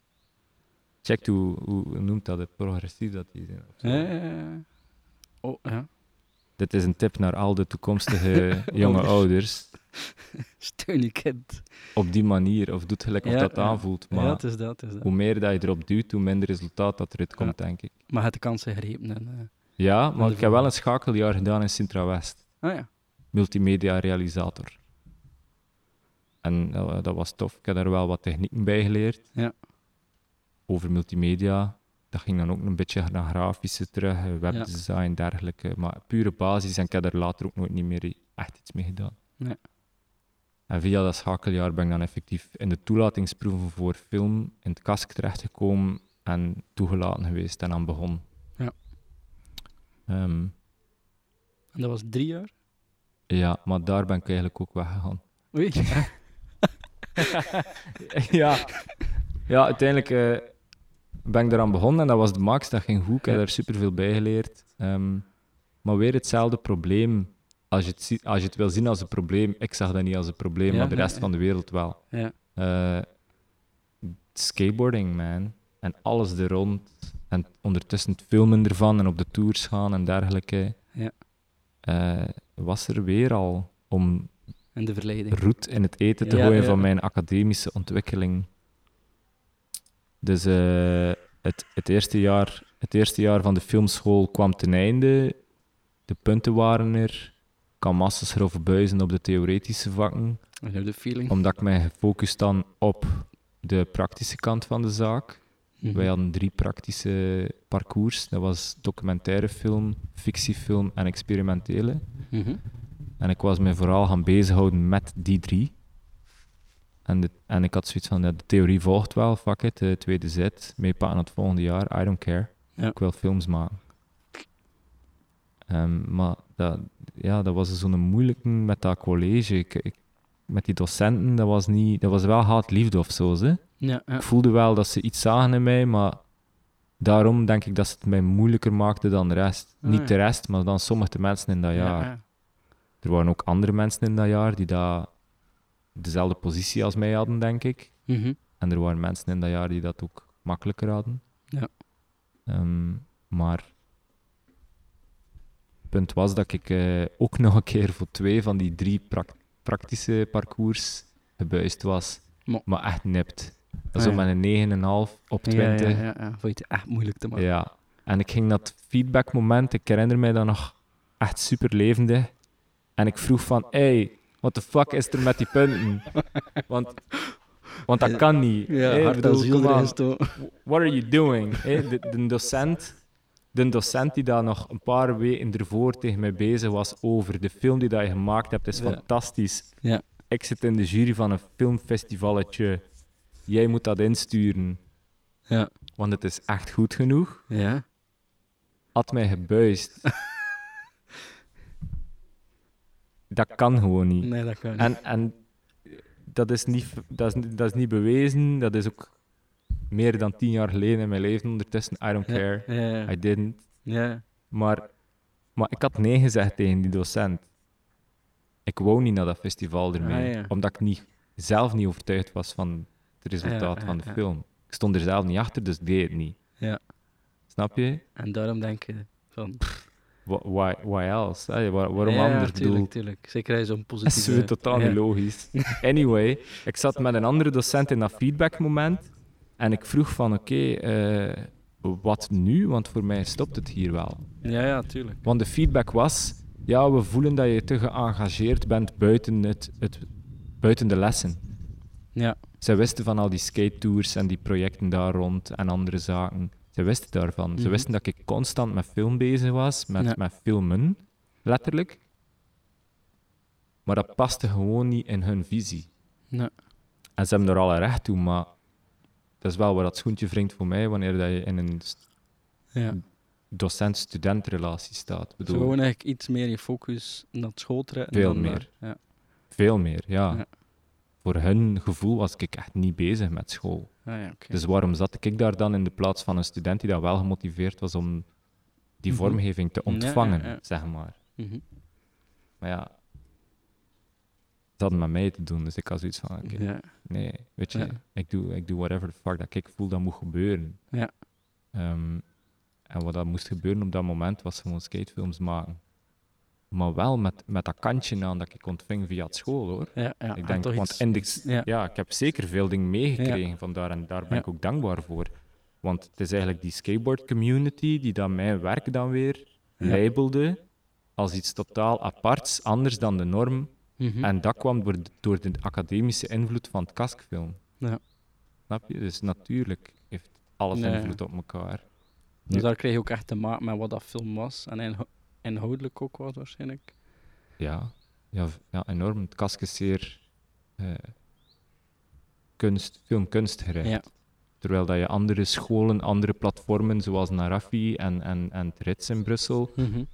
Check hoe, hoe hoe noemt dat, het? progressief dat die zijn. of zo. Ja, ja, ja. Oh, ja. Dit is een tip naar al de [LAUGHS] toekomstige jonge Ouders. ouders. Steun je kind. Op die manier, of doet gelijk Ja, of dat ja. aanvoelt. Maar Ja, het is dat, het is dat. hoe meer dat je erop duwt, hoe minder resultaat dat eruit komt, denk ik. Maar het de kansen gegrepen. En, eh. Ja, maar de ik heb wel een schakeljaar gedaan in Sintra-West. Ah ja. multimedia realisator. En eh, dat was tof. Ik heb daar wel wat technieken bij geleerd. Ja. Over multimedia. Dat ging dan ook een beetje naar grafische terug, eh, webdesign, dergelijke. Maar pure basis. En ik heb daar later ook nooit niet meer i- echt iets mee gedaan. Nee. En via dat schakeljaar ben ik dan effectief in de toelatingsproeven voor film in het kask terechtgekomen en toegelaten geweest en aan begon. Ja. Ehm, En dat was drie jaar? ja, maar daar ben ik eigenlijk ook weggegaan. Oei. ja. [LAUGHS] ja, uiteindelijk eh, ben ik eraan begonnen en dat was de max. Dat ging goed. Ik heb Ja. daar superveel bij geleerd. Ehm, maar weer hetzelfde probleem. Als je, het ziet, als je het wil zien als een probleem, ik zag dat niet als een probleem, Ja, maar de ja, rest ja. van de wereld wel. Ja. Eh, skateboarding, man. En alles er rond. En ondertussen het filmen ervan en op de tours gaan en dergelijke. Ja. Eh, was er weer al om En de verleiding. roet in het eten te Ja, gooien ja. van mijn academische ontwikkeling. Dus eh, het, het, eerste jaar, het eerste jaar van de filmschool kwam ten einde. De punten waren er. Ik kan massas grove buizen op de theoretische vakken. En de feeling. Omdat ik mij gefocust dan op de praktische kant van de zaak. Mhm. Wij hadden drie praktische parcours. Dat was documentaire film, fictiefilm en experimentele. Mhm. En ik was me vooral gaan bezighouden met die drie. En, de, en ik had zoiets van, ja, de theorie volgt wel, fuck it, de tweede zet, meepakken aan het volgende jaar, I don't care. Ja. Ik wil films maken. Ehm, maar dat, ja, dat was zo'n moeilijke met dat college. Ik, ik- met die docenten, dat was, niet, dat was wel haat-liefde of zo. Ze. Ja, ja. Ik voelde wel dat ze iets zagen in mij, maar daarom denk ik dat ze het mij moeilijker maakte dan de rest. Ah, niet ja. de rest, maar dan sommige mensen in dat jaar. Ja, ja. Er waren ook andere mensen in dat jaar die dat, dezelfde positie als mij hadden, denk ik. Mhm. En er waren mensen in dat jaar die dat ook makkelijker hadden. Ja. Ehm, maar het punt was dat ik eh, ook [LAUGHS] nog een keer voor twee van die drie prak- praktische parcours gebuist was. Mo. Maar echt nipt. Ah, Zo ja. met een 9,5 op 20. Ja, ja, ja, ja. Vond je het echt moeilijk te maken? Ja, en ik ging dat feedbackmoment, ik herinner mij dat nog echt super levendig. En ik vroeg van, hey, what the fuck is er met die punten? Want, want dat kan niet. Ja, Hey, hart en bedoel, ziel come erin on, gestoken. What are you doing? Hey, de, de docent, de docent die daar nog een paar weken ervoor tegen mij bezig was over de film die dat je gemaakt hebt, is Ja. fantastisch. Ja. Ik zit in de jury van een filmfestivalletje. Jij moet dat insturen, Ja. want het is echt goed genoeg Ja. had mij gebuist. dat kan gewoon niet. Nee, dat kan niet. En, en dat, is niet, dat, is, dat is niet bewezen. Dat is ook meer dan tien jaar geleden in mijn leven ondertussen. I don't care. Ja, ja, ja. I didn't. ja. Maar, maar ik had nee gezegd tegen die docent. Ik wou niet naar dat festival ermee. Ah, ja. Omdat ik niet, zelf niet overtuigd was van het resultaat ja, van de ja. film. Ik stond er zelf niet achter, dus ik deed het niet. Ja. Snap je? En daarom denk je van... Wha- Why, why else? Allee, waar- waarom ja, anders? Ik tuurlijk, bedoel, tuurlijk. Zeker hij zo'n [LAUGHS] dat positieve... is weer totaal ja. niet logisch. Anyway, ik zat met een andere docent in dat feedbackmoment en ik vroeg van oké, eh, wat nu? Want voor mij stopt het hier wel. Ja, ja, tuurlijk. Want de feedback was, ja, we voelen dat je te geëngageerd bent buiten, het, het, buiten de lessen. Ja. Zij wisten van al die skate tours en die projecten daar rond en andere zaken. Ze wisten daarvan. Ze Mhm. wisten dat ik constant met film bezig was, met, Ja. met filmen, letterlijk. Maar dat paste gewoon niet in hun visie. Nee. En ze hebben er alle recht toe, maar dat is wel waar dat schoentje wringt voor mij wanneer dat je in een st- ja. docent-studentrelatie staat. Ik Zo Bedoel, gewoon eigenlijk iets meer je focus naar het school trekken. Veel dan meer. naar- Ja. Veel meer, ja. Ja. Voor hun gevoel was ik echt niet bezig met school. Ah, ja, oké. Dus waarom zat ik daar dan in de plaats van een student die dat wel gemotiveerd was om die Mhm. vormgeving te Ja, ja, ontvangen, ja. zeg maar. Mhm. Maar ja, dat had met mij te doen, dus ik had zoiets van, oké, Ja. nee, weet je, Ja. ik, doe, ik doe whatever the fuck dat ik voel dat moet gebeuren. Ja. Ehm, en wat dat moest gebeuren op dat moment was gewoon skatefilms maken. Maar wel met, met dat kantje aan dat ik ontving via het school, hoor. Ja, ja. Ik Nou, en denk, toch want iets- in de- iets- ja. Ja, ik heb zeker veel dingen meegekregen van daar en daar ben Ja. ik ook dankbaar voor. Want het is eigenlijk die skateboard community die dan mijn werk dan weer Ja. labelde als iets totaal aparts, anders dan de norm. Mhm. En dat kwam door de, door de academische invloed van het kaskfilm. Ja. Snap je? Dus natuurlijk heeft alles Nee. invloed op elkaar. Dus daar kreeg je ook echt te maken met wat dat film was. En inho- inhoudelijk ook was waarschijnlijk. Ja, ja, v- ja enorm. Het kask is zeer eh, kunst, filmkunst gericht. Ja. Terwijl dat je andere scholen, andere platformen, zoals Narafi en, en, en Trits in Brussel, Mhm.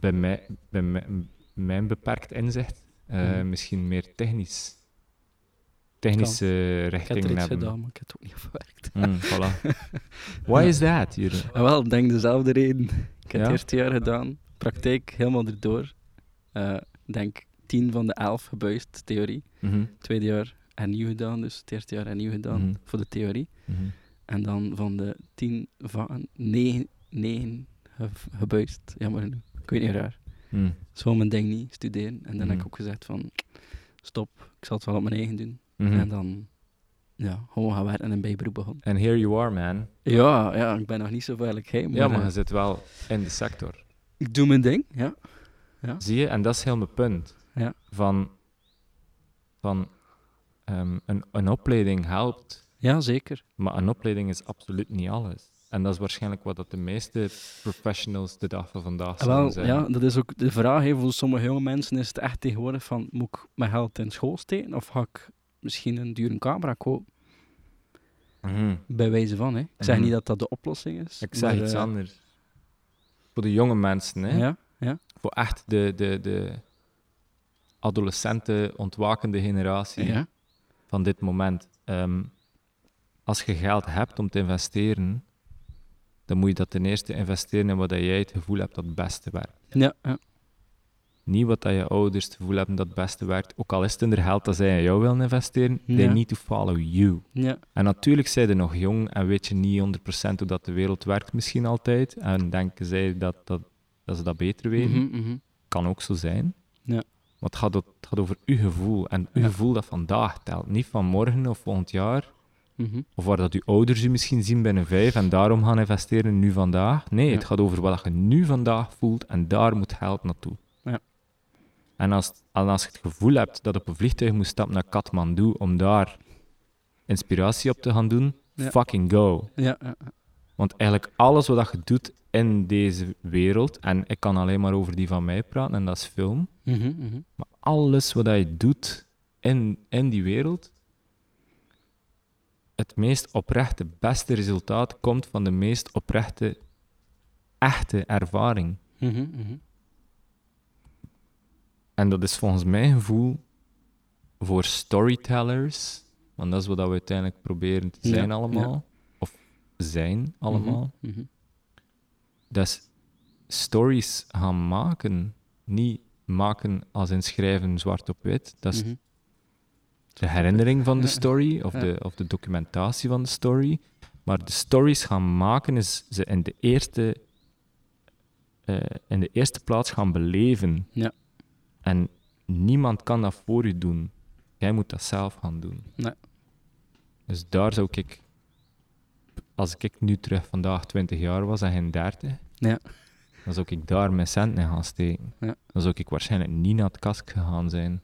bij, mij, bij mij- mijn beperkt inzicht, eh, Mhm. misschien meer technisch. Technische Ik heb richting er iets hebben. gedaan, maar ik heb het ook niet afgewerkt. Mm, voilà. [LAUGHS] Why is that, Jure? Ah, wel, ik denk dezelfde reden. Ik heb Ja? het eerste jaar gedaan, praktijk helemaal erdoor. Eh, Ik denk 10 van de 11 gebuist, theorie. Mhm, Tweede jaar hernieuw gedaan, dus het eerste jaar hernieuw gedaan Mhm. voor de theorie. mhm. En dan van de 10 vakken, 9, 9 gebuist, jammer genoeg. Ik weet niet raar. Mm, Zo mijn ding niet, studeren. En dan heb ik Mhm. ook gezegd van, stop, ik zal het wel op mijn eigen doen. mhm. En dan, ja, gewoon gaan werken en een bijberoep begonnen. And here you are, man. Ja, ja, ik ben nog niet zo ver als ik hij, maar, Ja, maar eh, je zit wel in de sector. ik doe mijn ding, ja. Zie je, en dat is heel mijn punt. Ja. Van, van ehm, een, een opleiding helpt, Ja, zeker. maar een opleiding is absoluut niet alles. En dat is waarschijnlijk wat dat de meeste professionals de dag van vandaag Ah, wel, zouden zeggen. ja, dat is ook de vraag. hè. voor sommige jonge mensen is het echt tegenwoordig van, moet ik mijn geld in school steken of ga ik misschien een dure camera kopen? Mhm. Bij wijze van, hè. Ik zeg Mhm. niet dat dat de oplossing is. Ik zeg maar, iets eh, anders. Voor de jonge mensen, hè. Ja, voor echt de, de, de adolescente, ontwakende generatie ja. van dit moment. Ehm, als je geld hebt om te investeren, dan moet je dat ten eerste investeren in wat dat jij het gevoel hebt dat het beste werkt. Ja, ja. Niet wat dat je ouders het gevoel hebben dat het beste werkt. Ook al is het in de geld dat zij in jou willen investeren, Ja. they need to follow you. ja. En natuurlijk zijn ze nog jong en weet je niet 100% hoe dat de wereld werkt misschien altijd. En denken zij dat, dat, dat ze dat beter weten Mhm, mhm. kan ook zo zijn. Ja. Maar het gaat, o- het gaat over uw gevoel. En uw Ja. gevoel dat vandaag telt. Niet van morgen of volgend jaar. Mhm. Of waar dat uw ouders u misschien zien binnen vijf en daarom gaan investeren nu vandaag. Nee, het Ja. gaat over wat je nu vandaag voelt en daar moet geld naartoe. Ja. En, als, en als je het gevoel hebt dat je op een vliegtuig moet stappen naar Kathmandu om daar inspiratie op te gaan doen, Ja. fucking go. Ja, ja, ja. Want eigenlijk alles wat dat je doet in deze wereld, en ik kan alleen maar over die van mij praten, en dat is film Mhm, mhm. alles wat dat je doet in, in die wereld, het meest oprechte, beste resultaat komt van de meest oprechte, echte ervaring. Mhm, mhm. En dat is volgens mijn gevoel voor storytellers, want dat is wat dat we uiteindelijk proberen te Ja, zijn allemaal, of zijn allemaal. Mhm, mhm. Dat is stories gaan maken, niet maken als in schrijven zwart op wit. Dat is Mhm. de herinnering van de Ja. story of, Ja. de, of de documentatie van de story. Maar de stories gaan maken is ze in de eerste, eh, in de eerste plaats gaan beleven. Ja. En niemand kan dat voor je doen. Jij moet dat zelf gaan doen. Nee. Dus daar zou ik, als ik nu terug vandaag 20 jaar was en geen 30, Ja. dan zou ik daar mijn cent in gaan steken. Ja. Dan zou ik waarschijnlijk niet naar het kast gegaan zijn.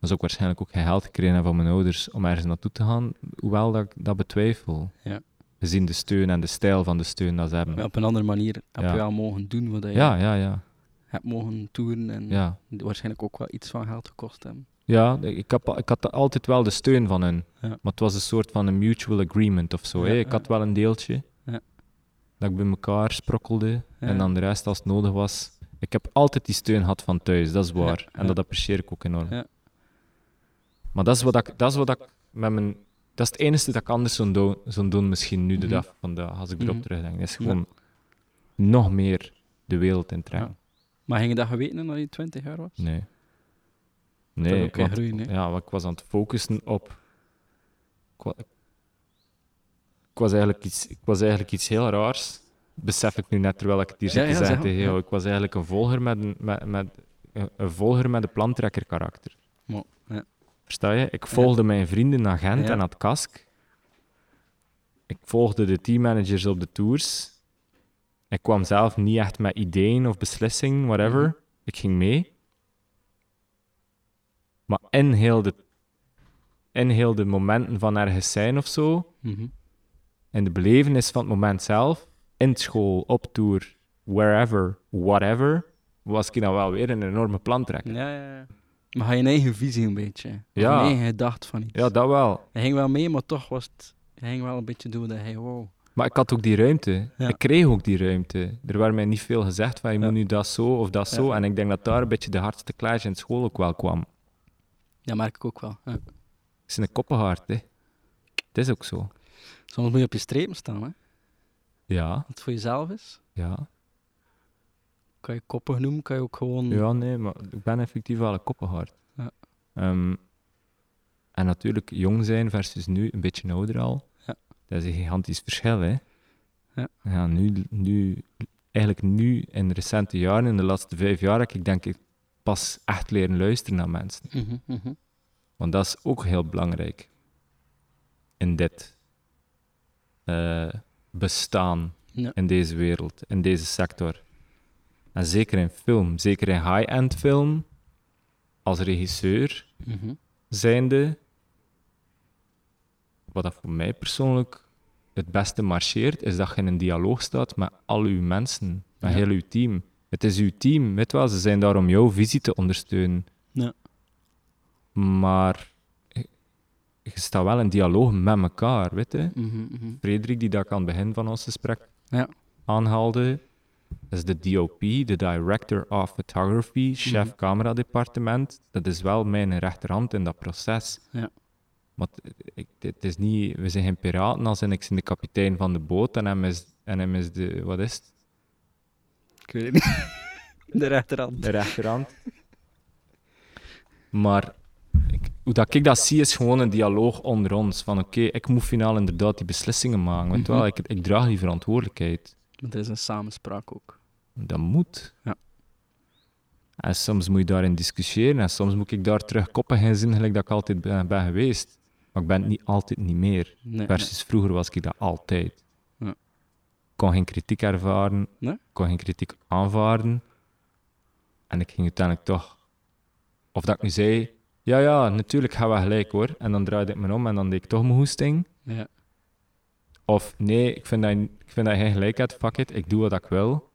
Dat is ook waarschijnlijk ook geen geld gekregen hebben van mijn ouders om ergens naartoe te gaan, hoewel dat ik dat betwijfel. Ja. Gezien de steun en de stijl van de steun dat ze hebben. Maar Op een andere manier heb Ja. je wel mogen doen wat je ja, ja, ja. hebt mogen toeren en ja. waarschijnlijk ook wel iets van geld gekost hebben. Ja, ik, heb, al- ik had altijd wel de steun van hun. Ja. Maar het was een soort van een mutual agreement of zo. Ja, hè. Ik ja. had wel een deeltje Ja. dat ik bij elkaar sprokkelde. En Ja. dan de rest als het nodig was. Ik heb altijd die steun gehad van thuis, dat is waar. Ja, En ja. dat apprecieer ik ook enorm. Ja. Maar dat is wat ik, dat is wat ik met mijn. Dat is het enige dat ik anders zou doen, zou doen misschien nu de Mhm. dag van vandaag, als ik erop Mhm. terugdenk. Dat is Ja. gewoon nog meer de wereld in trekken. Maar ging je dat geweten dat je 20 jaar was? Nee. Dat is Nee, ook geen want- groei, nee. ja, want ik was aan het focussen op. Ik wa- ik was, eigenlijk iets, ik was eigenlijk iets heel raars. Besef ik nu net terwijl ik het hier Ja, zit ja, te zeg zeggen maar, tegen jou. ja. Ik was eigenlijk een volger met een, met, met, een, een volger met een plantrekker karakter. Mo, ja. Versta je? Ik volgde mijn vrienden naar Gent Ja. en naar het Kask. Ik volgde de teammanagers op de tours. Ik kwam zelf niet echt met ideeën of beslissingen, whatever. Mhm. Ik ging mee. Maar in heel, de, in heel de momenten van ergens zijn of zo, Mhm. in de belevenis van het moment zelf, in school, op tour, wherever, whatever, was ik dan wel weer een enorme plantrekker. Ja, ja, ja. Maar had je een eigen visie een beetje. Of Ja. Een eigen gedachte van iets. Ja, dat wel. Hij ging wel mee, maar toch was het... Hij ging wel een beetje doen dat hij... Wow. Maar ik had ook die ruimte. Ja. Ik kreeg ook die ruimte. Er werd mij niet veel gezegd van je Ja. moet nu dat zo of dat zo. Ja. En ik denk dat daar een beetje de hardste clash in school ook wel kwam. Dat merk ik ook wel. ja. Het is een koppenhard, hè. Het is ook zo. Soms moet je op je strepen staan, hè. Als Ja, het voor jezelf is, ja. kan je koppig noemen, kan je ook gewoon... Ja, nee, maar ik ben effectief wel een koppenhard. Hmm. Ja. Ehm, en natuurlijk, jong zijn versus nu, een beetje ouder al. Ja. Dat is een gigantisch verschil, hè. Ja. nu, nu, eigenlijk nu, in de recente jaren, in de laatste vijf jaar, heb ik denk ik pas echt leren luisteren naar mensen. Mhm, mhm. Want dat is ook heel belangrijk. In dit eh, bestaan, Ja. in deze wereld, in deze sector. En zeker in film, zeker in high-end film, als regisseur Mhm. zijnde, wat dat voor mij persoonlijk het beste marcheert, is dat je in een dialoog staat met al uw mensen, met Ja. heel uw team. Het is uw team, weet wel, ze zijn daar om jouw visie te ondersteunen. Ja. Maar je je staat wel in dialoog met elkaar, weet je. Mhm, mhm. Frederik, die dat ik aan het begin van ons gesprek Ja. aanhaalde, is de DOP, de Director of Photography, chef Mhm. camera departement. Dat is wel mijn rechterhand in dat proces. Ja. Want eh, ik, het is niet, we zijn geen piraten, als in ik ben de kapitein van de boot en hem is, en hem is de, wat is het? Ik weet het niet. [LAUGHS] De rechterhand. De rechterhand. [LAUGHS] maar ik, hoe dat ik dat zie, is gewoon een dialoog onder ons. Van oké, ik moet finaal inderdaad die beslissingen maken. Want wel, Mhm. ik, ik draag die verantwoordelijkheid. Maar er is een samenspraak ook. Dat moet. Ja. En soms moet je daarin discussiëren en soms moet ik daar terug koppig in zijn, gelijk dat ik altijd ben, ben geweest. Maar ik ben het niet altijd niet meer. Nee, Versus vroeger was ik dat altijd. Ja. Ik kon geen kritiek ervaren, Nee? ik kon geen kritiek aanvaarden. En ik ging uiteindelijk toch... Of dat ik nu zei, ja, ja, natuurlijk gaan we gelijk hoor. En dan draaide ik me om en dan deed ik toch mijn hoesting. nee. Ja. Of nee, ik vind dat, je- ik vind dat je geen gelijk hebt, fuck it, ik doe wat ik wil.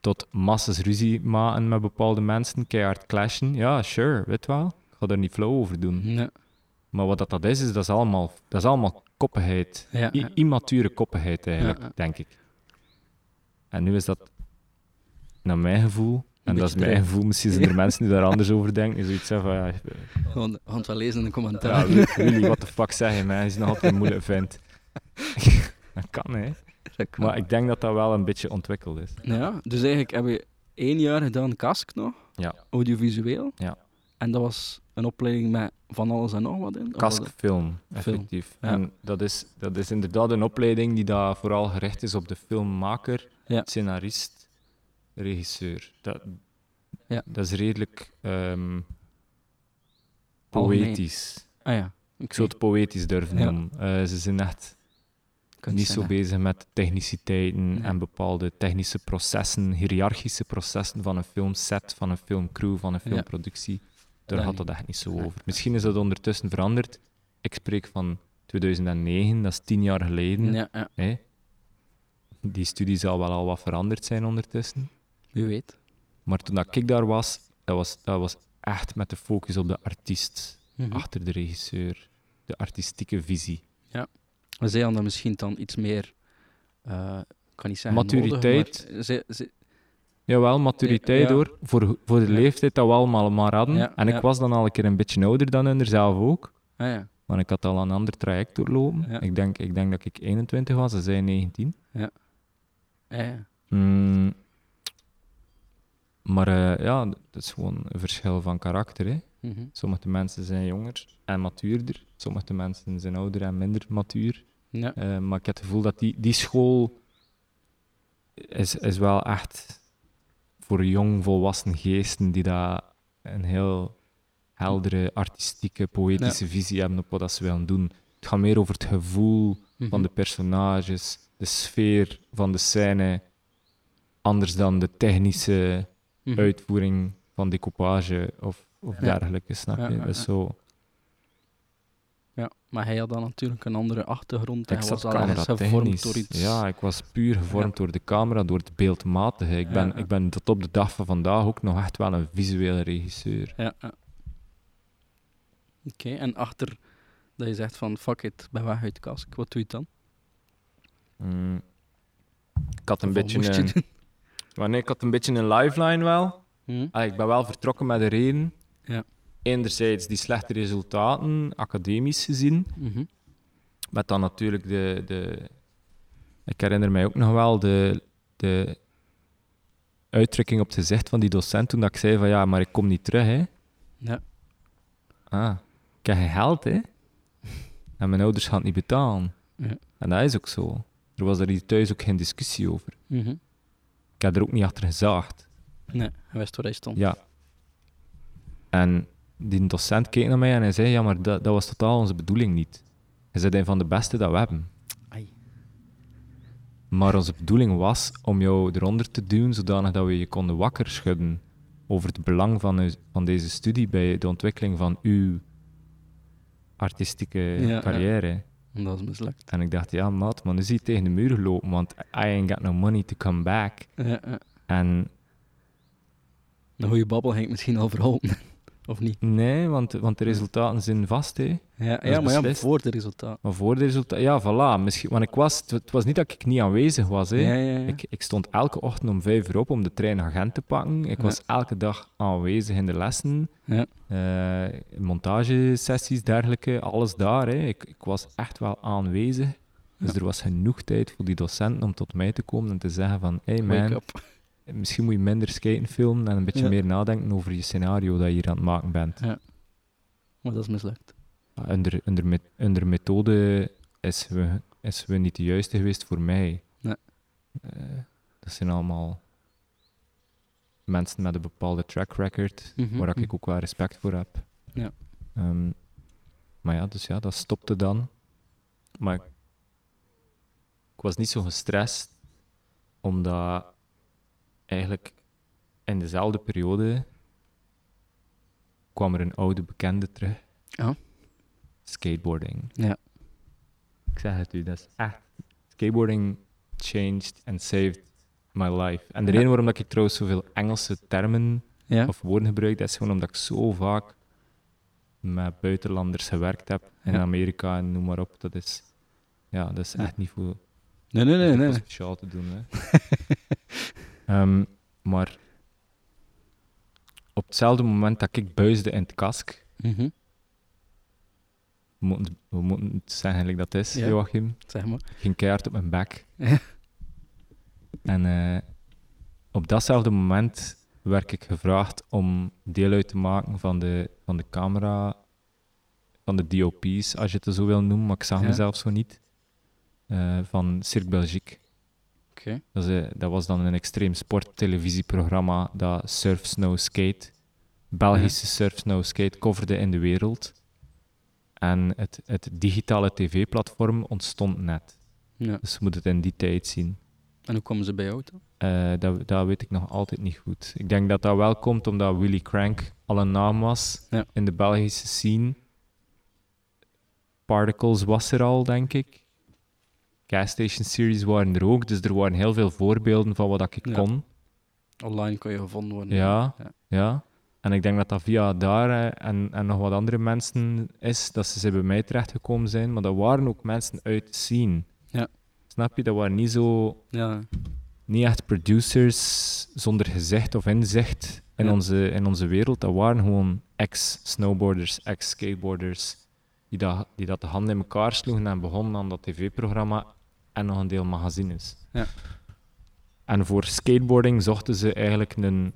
Tot massas ruzie maken met bepaalde mensen, keihard clashen. Ja, sure, weet wel. Ik ga er niet flow over doen. Nee. Maar wat dat, dat is, is dat is allemaal, dat is allemaal koppigheid. Ja, I- ja. immature koppigheid eigenlijk, Ja, ja. denk ik. En nu is dat, naar mijn gevoel, en dat is beetje mijn dreig. gevoel, misschien [LAUGHS] zijn er mensen die daar anders over denken, is zoiets van, ja, Gewoon, gewoon het wel lezen in de ja, commentaar. Willy, wat de fuck zeg je, man? Hij is nog altijd een moeilijk vent. [LAUGHS] dat kan, hè. Dat kan. Maar ik denk dat dat wel een beetje ontwikkeld is. Ja, dus eigenlijk heb je één jaar gedaan kask nog, Ja. audiovisueel. Ja. En dat was een opleiding met van alles en nog wat in? of was het- Kaskfilm, effectief. ja. En dat is, dat is inderdaad een opleiding die daar vooral gericht is op de filmmaker, Ja. scenarist, regisseur. Dat, Ja. dat is redelijk ehm, Algemeen. poëtisch. Ah ja. Ik zou het poëtisch durven Ja. noemen. Eh, ze zijn echt niet zo bezig. bezig met techniciteiten Nee. en bepaalde technische processen, hiërarchische processen van een filmset, van een filmcrew, van een Ja. filmproductie. Daar Dat gaat niet. dat echt niet zo Nee. over. Misschien is dat ondertussen veranderd. Ik spreek van 2009, dat is tien jaar geleden. Ja, ja, Hè? Die studie zal wel al wat veranderd zijn ondertussen. wie weet. Maar toen dat ik daar was, dat was, dat was echt met de focus op de artiest, Mhm. achter de regisseur, de artistieke visie. Maar zij hadden misschien dan iets meer, eh, ik kan niet zeggen Maturiteit. nodig, maar ze- ze- Jawel, maturiteit Ja. hoor. Voor, voor de Ja. leeftijd dat we allemaal maar hadden. Ja, en ik ja. was dan al een keer een beetje ouder dan hun er zelf ook. ah ja, Want ik had al een ander traject doorlopen. Ja. Ik, denk, ik denk dat ik 21 was en zij 19. ah ja. Mm. Maar eh, ja, dat is gewoon een verschil van karakter. Hè. Mhm. Sommige mensen zijn jonger en matuurder. Sommige mensen zijn ouder en minder matuur. ja. Eh, maar ik heb het gevoel dat die, die school is, is wel echt voor jong volwassen geesten die daar een heel heldere, artistieke, poëtische visie hebben op wat dat ze willen doen. Het gaat meer over het gevoel Mhm. van de personages, de sfeer van de scène, anders dan de technische Mhm. uitvoering van decoupage of, of Ja. dergelijke, snap je? Ja, ja, Dat is ja. zo... Ja, maar hij had dan natuurlijk een andere achtergrond. Hij Ik was zat al ergens gevormd cameratechnisch. door iets. Ja, ik was puur gevormd door de camera, door het beeldmatige. Ik ben, Ja, ja. ik ben tot op de dag van vandaag ook nog echt wel een visuele regisseur. Ja, ja. en achter dat je zegt van fuck it, ik ben weg uit de kast, wat doe je dan? Mm. Ik had een Of wat beetje moest je een... [LAUGHS] doen? Maar nee, ik had een beetje een lifeline wel. Hm? Ah, ik ben wel vertrokken met de reden. Ja. Enerzijds die slechte resultaten, academisch gezien. Mhm. Met dan natuurlijk de, de... Ik herinner mij ook nog wel de, de uitdrukking op het gezicht van die docent toen dat ik zei van ja, maar ik kom niet terug, hè. Ja. Ah, ik heb geen geld, hè. [LAUGHS] En mijn ouders gaan het niet betalen. Ja. En dat is ook zo. Er was er hier thuis ook geen discussie over. Mhm. Ik heb er ook niet achter gezaagd. Nee, hij wist waar hij stond. Ja. En die docent keek naar mij en hij zei: Ja, maar dat, dat was totaal onze bedoeling niet. Hij zei: Een van de beste dat we hebben. Ai. Maar onze bedoeling was om jou eronder te duwen zodanig dat we je konden wakker schudden over het belang van, u- van deze studie bij de ontwikkeling van uw artistieke ja. carrière. En dat is mislukt. En ik dacht: Ja, maat, maar nu zie je tegen de muur lopen, want I ain't got no money to come back. Ja, ja. En Een goede babbel ging ik misschien al verholpen. [LAUGHS] of niet? nee, want, want de resultaten zijn vast, hè. Ja, is ja maar ja, beslist. voor de resultaat. Maar voor de resultaten, ja, voilà. Misschien, want ik was, het, het was niet dat ik niet aanwezig was. Hè. Ja, ja, ja. Ik, ik stond elke ochtend om vijf uur op om de trein naar Gent te pakken. Ik Ja. was elke dag aanwezig in de lessen, Ja. eh, montagesessies, dergelijke, alles daar. Hè. Ik, ik was echt wel aanwezig. Dus Ja. er was genoeg tijd voor die docenten om tot mij te komen en te zeggen van hey Wake man, up. misschien moet je minder skaten filmen en een beetje Ja. meer nadenken over je scenario dat je hier aan het maken bent. Maar dat is mislukt. Onder, onder, met- onder methode is we, is we niet de juiste geweest voor mij. Nee. Eh, dat zijn allemaal mensen met een bepaalde track record, Mhm, waar ik mhm. ook wel respect voor heb. Ja. Ehm, maar ja, dus ja, dat stopte dan. Maar ik, ik was niet zo gestrest, omdat eigenlijk in dezelfde periode kwam er een oude bekende terug. Ja. Skateboarding. Oh. Ja. Ik zeg het u, dat is echt... Skateboarding changed and saved my life. En de Ja. reden waarom dat ik trouwens zoveel Engelse termen Ja? of woorden gebruik, dat is gewoon omdat ik zo vaak met buitenlanders gewerkt heb. In Ja. Amerika en noem maar op. Dat is... Ja, dat is Ja. echt niet voor Nee, nee, dat nee. is nee. ook wel speciaal te doen. [LAUGHS] Hè. Ehm, maar op hetzelfde moment dat ik buisde in het kask, Mhm, we moeten, we moeten het zeggen gelijk dat het is, Ja. Joachim, Zeg maar. ik ging keihard op mijn bek. Ja. En eh, op datzelfde moment werd ik gevraagd om deel uit te maken van de, van de camera, van de DOP's, als je het zo wil noemen, maar ik zag Ja. mezelf zo niet, eh, van Cirque Belgique. Oké. Dat, is, eh, dat was dan een extreem sporttelevisieprogramma dat surf, snow, skate, Belgische surf, snow, skate coverde in de wereld. En het, het digitale tv-platform ontstond net. Ja. Dus je moet het in die tijd zien. En hoe komen ze bij jou dan? Eh, dat, dat weet ik nog altijd niet goed. Ik denk dat dat wel komt omdat Willy Crank al een naam was Ja. in de Belgische scene. Particles was er al, denk ik. Gas Station Series waren er ook, dus er waren heel veel voorbeelden van wat ik Ja. kon. Online kon je gevonden worden. Ja, Ja. ja. En ik denk dat dat via daar eh, en, en nog wat andere mensen is, dat ze, ze bij mij terechtgekomen zijn. Maar dat waren ook mensen uit de scene. Ja. Snap je? Dat waren niet zo Ja. niet echt producers zonder gezicht of inzicht in, Ja. onze, in onze wereld. Dat waren gewoon ex-snowboarders, ex-skateboarders, die dat, die dat de handen in elkaar sloegen en begonnen aan dat tv-programma en nog een deel magazines. Ja. En voor skateboarding zochten ze eigenlijk een,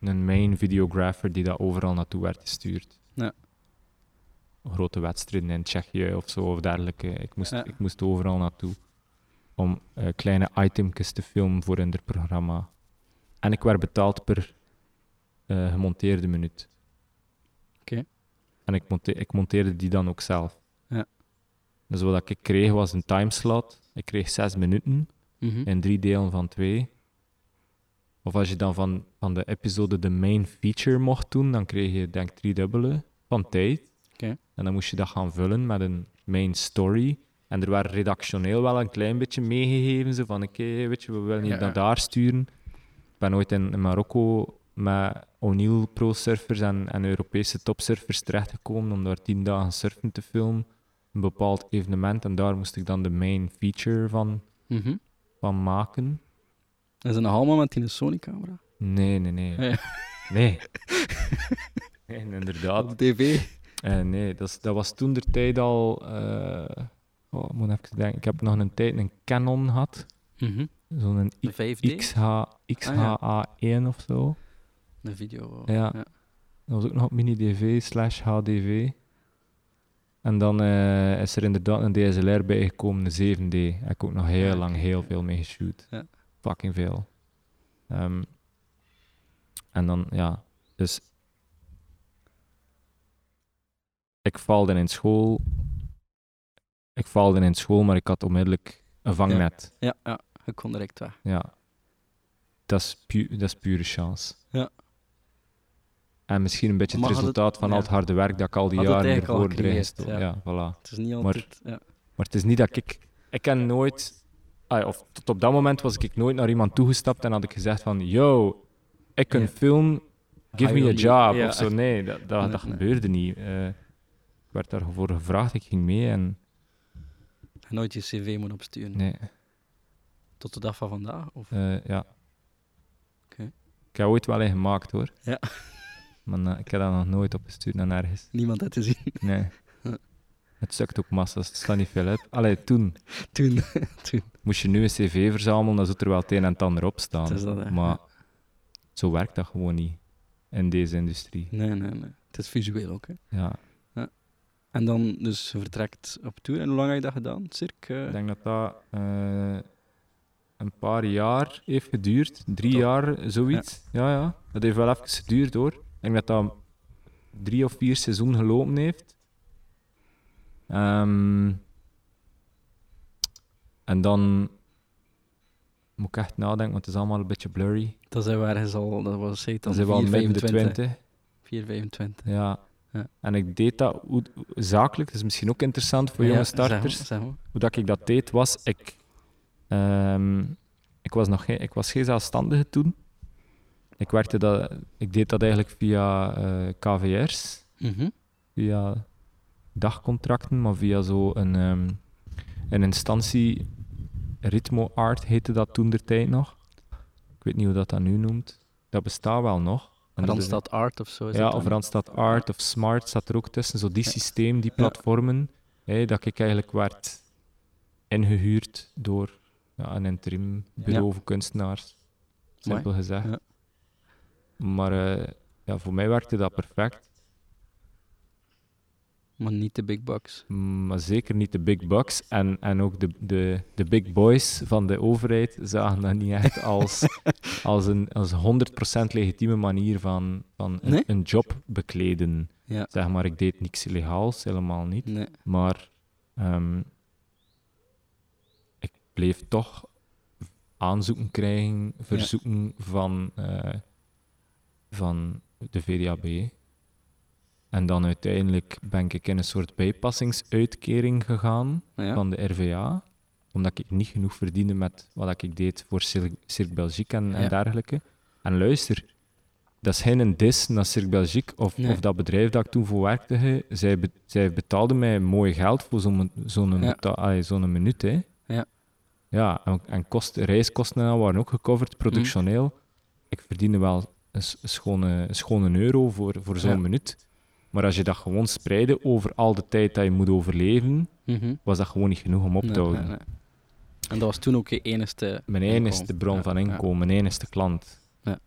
een main videographer die dat overal naartoe werd gestuurd. Ja. Grote wedstrijden in Tsjechië of zo of dergelijke. Ik moest, Ja. ik moest overal naartoe om eh, kleine itemjes te filmen voor hun programma. En ik werd betaald per eh, gemonteerde minuut. Oké. En ik, monte- ik monteerde die dan ook zelf. Ja. Dus wat ik kreeg was een timeslot. Ik kreeg zes minuten Mhm. in drie delen van twee. Of als je dan van, van de episode de main feature mocht doen, dan kreeg je denk ik drie dubbele van tijd. Oké. En dan moest je dat gaan vullen met een main story. En er werd redactioneel wel een klein beetje meegegeven. Zo van, oké, weet je, we willen je Ja, naar ja. daar sturen. Ik ben ooit in, in Marokko met O'Neill pro-surfers en, en Europese topsurfers terechtgekomen om daar tien dagen surfen te filmen. Een bepaald evenement en daar moest ik dan de main feature van, Mhm. van maken. Dat is een Halma met die Sony-camera. Nee, nee, nee. Ja. Nee. nee inderdaad. Op tv. Eh, nee, dat, is- dat was toen de tijd al. eh, oh, ik moet even denken. Ik heb nog een tijd een Canon gehad. Mhm. Zo'n De 5D. XH, XHA1 of zo. De video. Ja. Dat was ook nog op mini-DV slash HDV. En dan eh, is er inderdaad een DSLR bijgekomen, een 7D. Heb ik ook nog heel Ja, lang oké, heel ja. veel mee geshoot. Ja. Fucking veel. Ehm, en dan, ja, dus... Ik faalde in school. Ik faalde in school, maar ik had onmiddellijk een vangnet. Ja, ja. Ik kon direct weg. Ja. Dat, is pu- dat is pure chance. Ja. En misschien een beetje Maar het had het- resultaat van al het ja. harde werk dat ik al die Had het jaren eigenlijk al ervoor erin gecreëerd, gestoken ja. ja, voilà. Het is niet Maar- altijd... ja. Maar het is niet dat ik... Ik ken nooit... ah, of tot op dat moment was ik nooit naar iemand toegestapt en had ik gezegd van... Yo, ik kan Ja. film, give I me a will be- job ja, of zo. echt. Nee, dat, dat, Nee, dat nee. gebeurde niet. Eh, ik werd daarvoor gevraagd, ik ging mee en... En nooit je cv moet opsturen. Nee. Tot de dag van vandaag? Of... Eh, ja. Oké. Ik heb ooit wel een gemaakt hoor. Ja. Maar eh, ik heb dat nog nooit opgestuurd naar nergens. Niemand had te zien Nee. Huh. Het sukt ook massa's, het staat niet veel uit. Allee, toen [LAUGHS] toen. moest je nu een cv verzamelen, dan zit er wel het een en het ander op staan. Het is dat, hè. maar zo werkt dat gewoon niet in deze industrie. Nee, nee, nee. Het is visueel ook. Hè. Ja, En dan dus je vertrekt op tour. En hoe lang heb je dat gedaan? Circa? ik denk dat dat eh, een paar jaar heeft geduurd. Drie Toch? jaar, zoiets. Ja. ja, Dat heeft wel even geduurd hoor. Ik denk dat dat drie of vier seizoen gelopen heeft. Ehm, en dan moet ik echt nadenken, want het is allemaal een beetje blurry. Dat zijn we ergens al... Dat was zeker Dan dan zijn we al midden de 20. 4, 25. Ja. Ja. En ik deed dat hoe- zakelijk, dat is misschien ook interessant voor jonge starters. Zeg maar, zeg maar. Hoe dat ik dat deed was, ik, ehm, ik was nog geen, ik was geen zelfstandige toen. Ik, werkte dat, ik deed dat eigenlijk via eh, KVR's, Mhm. via dagcontracten, maar via zo'n een, ehm, een instantie, Ritmo Art heette dat toen der tijd nog. Ik weet niet hoe dat dat nu noemt. Dat bestaat wel nog. En dat is- Randstad Art of zo. Is ja, dat of dan? Randstad Art of Smart zat er ook tussen. Zo die Ja. systeem, die platformen. hè, dat ik eigenlijk werd ingehuurd door ja, een interim bureau voor kunstenaars. Simpel gezegd. Ja. Maar eh, ja, voor mij werkte dat perfect. Maar niet de big bucks. Mm, Maar zeker niet de big bucks. En, en ook de, de, de big boys van de overheid zagen dat niet echt [LAUGHS] als, als, een, als een 100% legitieme manier van, van een- Nee? een job bekleden. Ja. Zeg maar, ik deed niks illegaals, helemaal niet. Nee. Maar ehm, ik bleef toch aanzoeken krijgen, verzoeken van, eh, van de VDAB. En dan uiteindelijk ben ik in een soort bijpassingsuitkering gegaan Nou Ja. van de RVA, omdat ik niet genoeg verdiende met wat ik deed voor Cir- Cirque Belgique en, en Ja. dergelijke. En luister, dat is geen dis naar Cirque Belgique of, Nee. of dat bedrijf dat ik toen voor werkte. hè. Zij, be- zij betaalden mij mooi geld voor zo'n zo'n Ja. beta- allee, zo'n minuut. Hè. Ja. Ja, en, en kost, reiskosten en al waren ook gecoverd, productioneel. Mm. Ik verdiende wel een, s- een schone, een schone euro voor, voor zo'n Ja. minuut. Maar als je dat gewoon spreidde over al de tijd dat je moet overleven, Mhm. was dat gewoon niet genoeg om op te Nee, houden. nee, nee. En dat was toen ook je enigste... Mijn enige Inkomen, bron ja, van ja. inkomen, mijn enige klant. Ja.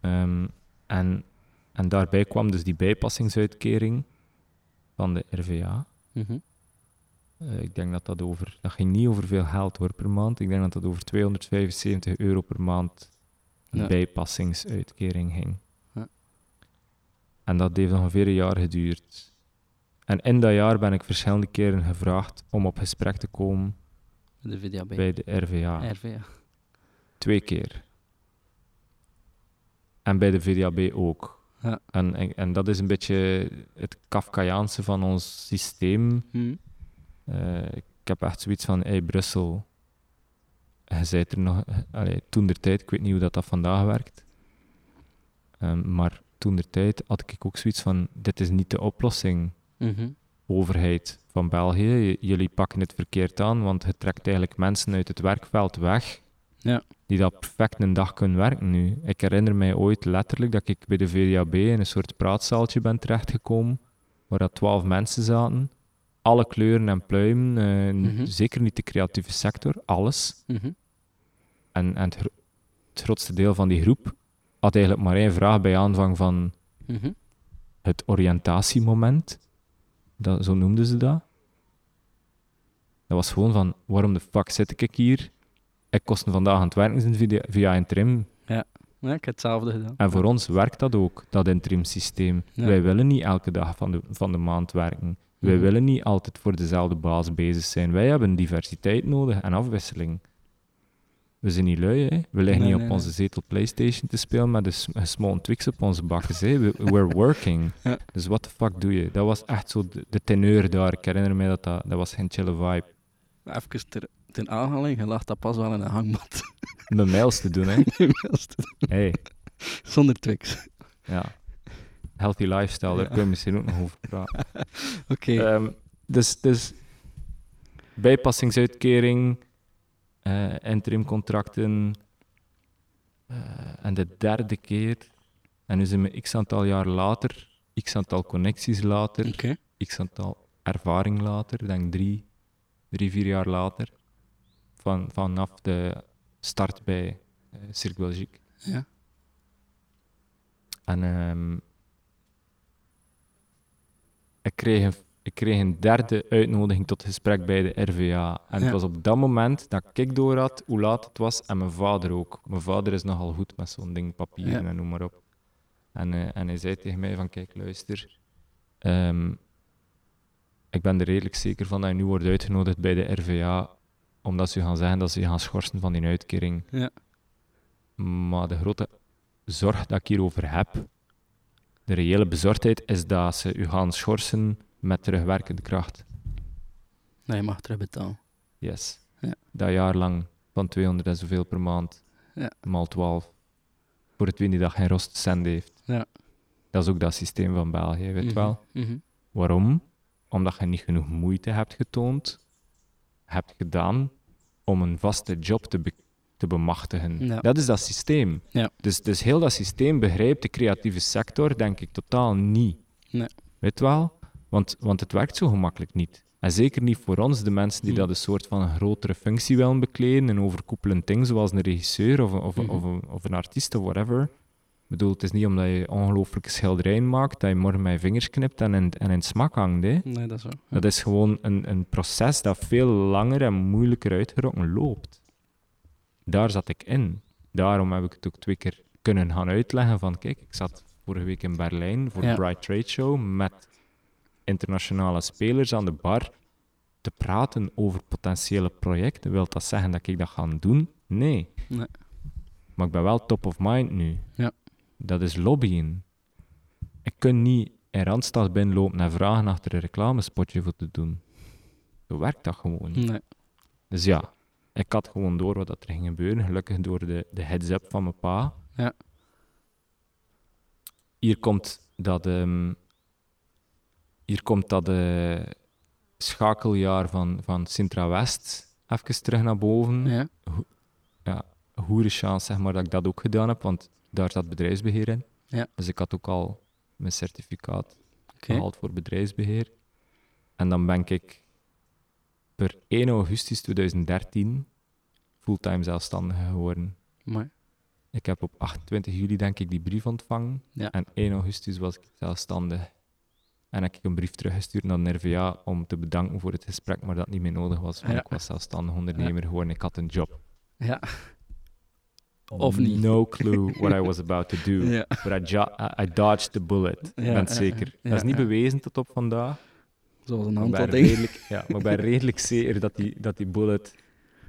Ehm, en, en daarbij kwam dus die bijpassingsuitkering van de RVA. Mhm. Eh, ik denk dat dat over... Dat ging niet over veel geld hoor, per maand. Ik denk dat dat over 275 euro per maand een Ja. bijpassingsuitkering ging. Ja. En dat heeft ongeveer een jaar geduurd. En in dat jaar ben ik verschillende keren gevraagd om op gesprek te komen De VDAB. bij de RVA. RVA. Twee keer. En bij de VDAB ook. Ja. En, en, en dat is een beetje het Kafkaiaanse van ons systeem. Mhm. Eh, ik heb echt zoiets van, hey Brussel, je zei er nog, toen de tijd, ik weet niet hoe dat, dat vandaag werkt. Ehm, maar toen de tijd had ik ook zoiets van: dit is niet de oplossing, Mhm. overheid van België. J- jullie pakken het verkeerd aan, want het trekt eigenlijk mensen uit het werkveld weg. Ja. Die dat perfect een dag kunnen werken nu. Ik herinner mij ooit letterlijk dat ik bij de VDAB in een soort praatzaaltje ben terechtgekomen, waar dat twaalf mensen zaten. Alle kleuren en pluimen, eh, n- Mhm. zeker niet de creatieve sector, alles. En, en het, gro- het grootste deel van die groep had eigenlijk maar één vraag bij aanvang van Mhm. het oriëntatiemoment. Dat, zo noemden ze dat. Dat was gewoon van, waarom de fuck zit ik hier? Ik kost me vandaag aan het werken zijn via, via interim. Ja, ik heb hetzelfde gedaan. En voor ons werkt dat ook, dat interim systeem. Ja. Wij willen niet elke dag van de, van de maand werken. Wij Mhm. willen niet altijd voor dezelfde baas bezig zijn. Wij hebben diversiteit nodig en afwisseling. We zijn niet lui, hè. We liggen Nee, niet op nee, onze zetel PlayStation te spelen met een s- een small Twix op onze bakkes, hè. We- We're working. [LAUGHS] Ja. Dus what the fuck doe je? Dat was echt zo de, de teneur daar. Ik herinner me dat dat, dat was geen chille vibe. Even ter, ten aanhaling, je lag dat pas wel in een hangmat. [LAUGHS] Mijn mails te doen, hè. Hey, Zonder Twix. ja. Healthy lifestyle, daar Ja. kun je misschien ook nog over praten. Oké. Ehm, dus, dus bijpassingsuitkering, eh interimcontracten. eh, en de derde keer, en nu zijn we x aantal jaar later, x aantal connecties later, Oké. x aantal ervaring later, ik denk drie, drie, vier jaar later, van, vanaf de start bij eh Cirque Belgique. Ja. En ehm, ik, kreeg een, ik kreeg een derde uitnodiging tot gesprek bij de RVA. En Ja. het was op dat moment dat ik door had hoe laat het was en mijn vader ook. Mijn vader is nogal goed met zo'n ding, papieren Ja. en noem maar op. En, eh, en hij zei tegen mij van, kijk, luister, ehm, ik ben er redelijk zeker van dat je nu wordt uitgenodigd bij de RVA, omdat ze gaan zeggen dat ze je gaan schorsen van die uitkering. Ja. Maar de grote zorg dat ik hierover heb, de reële bezorgdheid, is dat ze u gaan schorsen met terugwerkende kracht. Nee, je mag terugbetalen. Yes. Ja. Dat jaar lang van 200 en zoveel per maand, Ja. maal 12, voor het die dag geen rostcent heeft. Ja. Dat is ook dat systeem van België, weet je Mhm, wel. mhm. Waarom? Omdat je niet genoeg moeite hebt getoond, hebt gedaan om een vaste job te, be- te bemachtigen. Ja. Dat is dat systeem. Ja. Dus, dus heel dat systeem begrijpt de creatieve sector, denk ik, totaal niet. Nee. Weet wel? Want, want het werkt zo gemakkelijk niet. En zeker niet voor ons, de mensen die Hm. dat een soort van een grotere functie willen bekleden, een overkoepelend ding, zoals een regisseur of, een- of, een- Mhm. of, een, of een artiest of whatever. Ik bedoel, het is niet omdat je ongelooflijke schilderijen maakt, dat je morgen met je vingers knipt en in, en in het smak hangt. Hè. Nee, dat is wel. Dat is gewoon een, een proces dat veel langer en moeilijker uitgerokken loopt. Daar zat ik in. Daarom heb ik het ook twee keer kunnen gaan uitleggen van, kijk, ik zat vorige week in Berlijn voor Ja. de Bright Trade Show met internationale spelers aan de bar te praten over potentiële projecten. Wil dat zeggen dat ik dat ga doen? Nee. Nee. Maar ik ben wel top of mind nu. Ja. Dat is lobbyen. Ik kan niet in Randstad binnenlopen en vragen achter een reclamespotje voor te doen. Zo werkt dat gewoon niet. Nee. Hm. Dus ja, ik had gewoon door wat dat er ging gebeuren. Gelukkig door de, de heads-up van mijn pa. Ja. Hier komt dat, ehm, hier komt dat eh, schakeljaar van, van Sintra West even terug naar boven. Ja. Hoere chance zeg maar, dat ik dat ook gedaan heb, want daar zat bedrijfsbeheer in. Ja. Dus ik had ook al mijn certificaat Oké. gehaald voor bedrijfsbeheer. En dan ben ik per 1 augustus 2013 fulltime zelfstandige geworden. Maar. Ik heb op 28 juli, denk ik, die brief ontvangen. Ja. En 1 augustus was ik zelfstandig. En heb ik een brief teruggestuurd naar de NVA om te bedanken voor het gesprek, maar dat niet meer nodig was, want Ja. ik was zelfstandig ondernemer geworden. Ik had een job. Ja. Of niet. No clue what I was about to do. [LAUGHS] Ja. But I, jo- I- I dodged the bullet. Ik Ja, ben ja, het zeker. ja, dat is niet ja. bewezen tot op vandaag. Zoals een Ik aantal ben dingen. redelijk- ja, maar ik ben redelijk zeker dat die, dat die bullet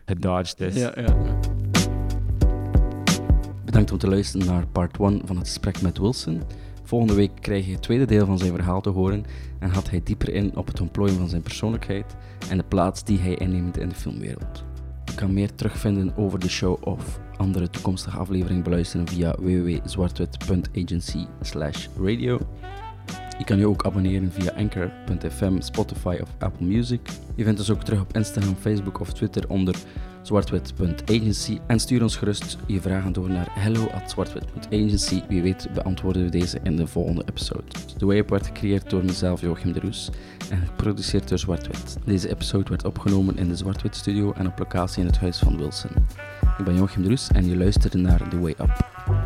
gedodged is. Ja, ja. Bedankt om te luisteren naar part 1 van het gesprek met Wilson. Volgende week krijg je het tweede deel van zijn verhaal te horen en gaat hij dieper in op het ontplooien van zijn persoonlijkheid en de plaats die hij inneemt in de filmwereld. kan meer terugvinden over de show of andere toekomstige afleveringen beluisteren via www.zwartwit.agency radio. Je kan je ook abonneren via Anchor.fm, Spotify of Apple Music. Je vindt ons ook terug op Instagram, Facebook of Twitter onder zwartwit.agency en stuur ons gerust je vragen door naar hello@zwartwit.agency. Wie weet beantwoorden we deze in de volgende episode. De Wayup werd gecreëerd door mezelf Joachim de Roes en geproduceerd door Zwartwit. Deze episode werd opgenomen in de Zwartwit studio en op locatie in het huis van Wilson. Ik ben Joachim de Roes en je luistert naar The Way Up.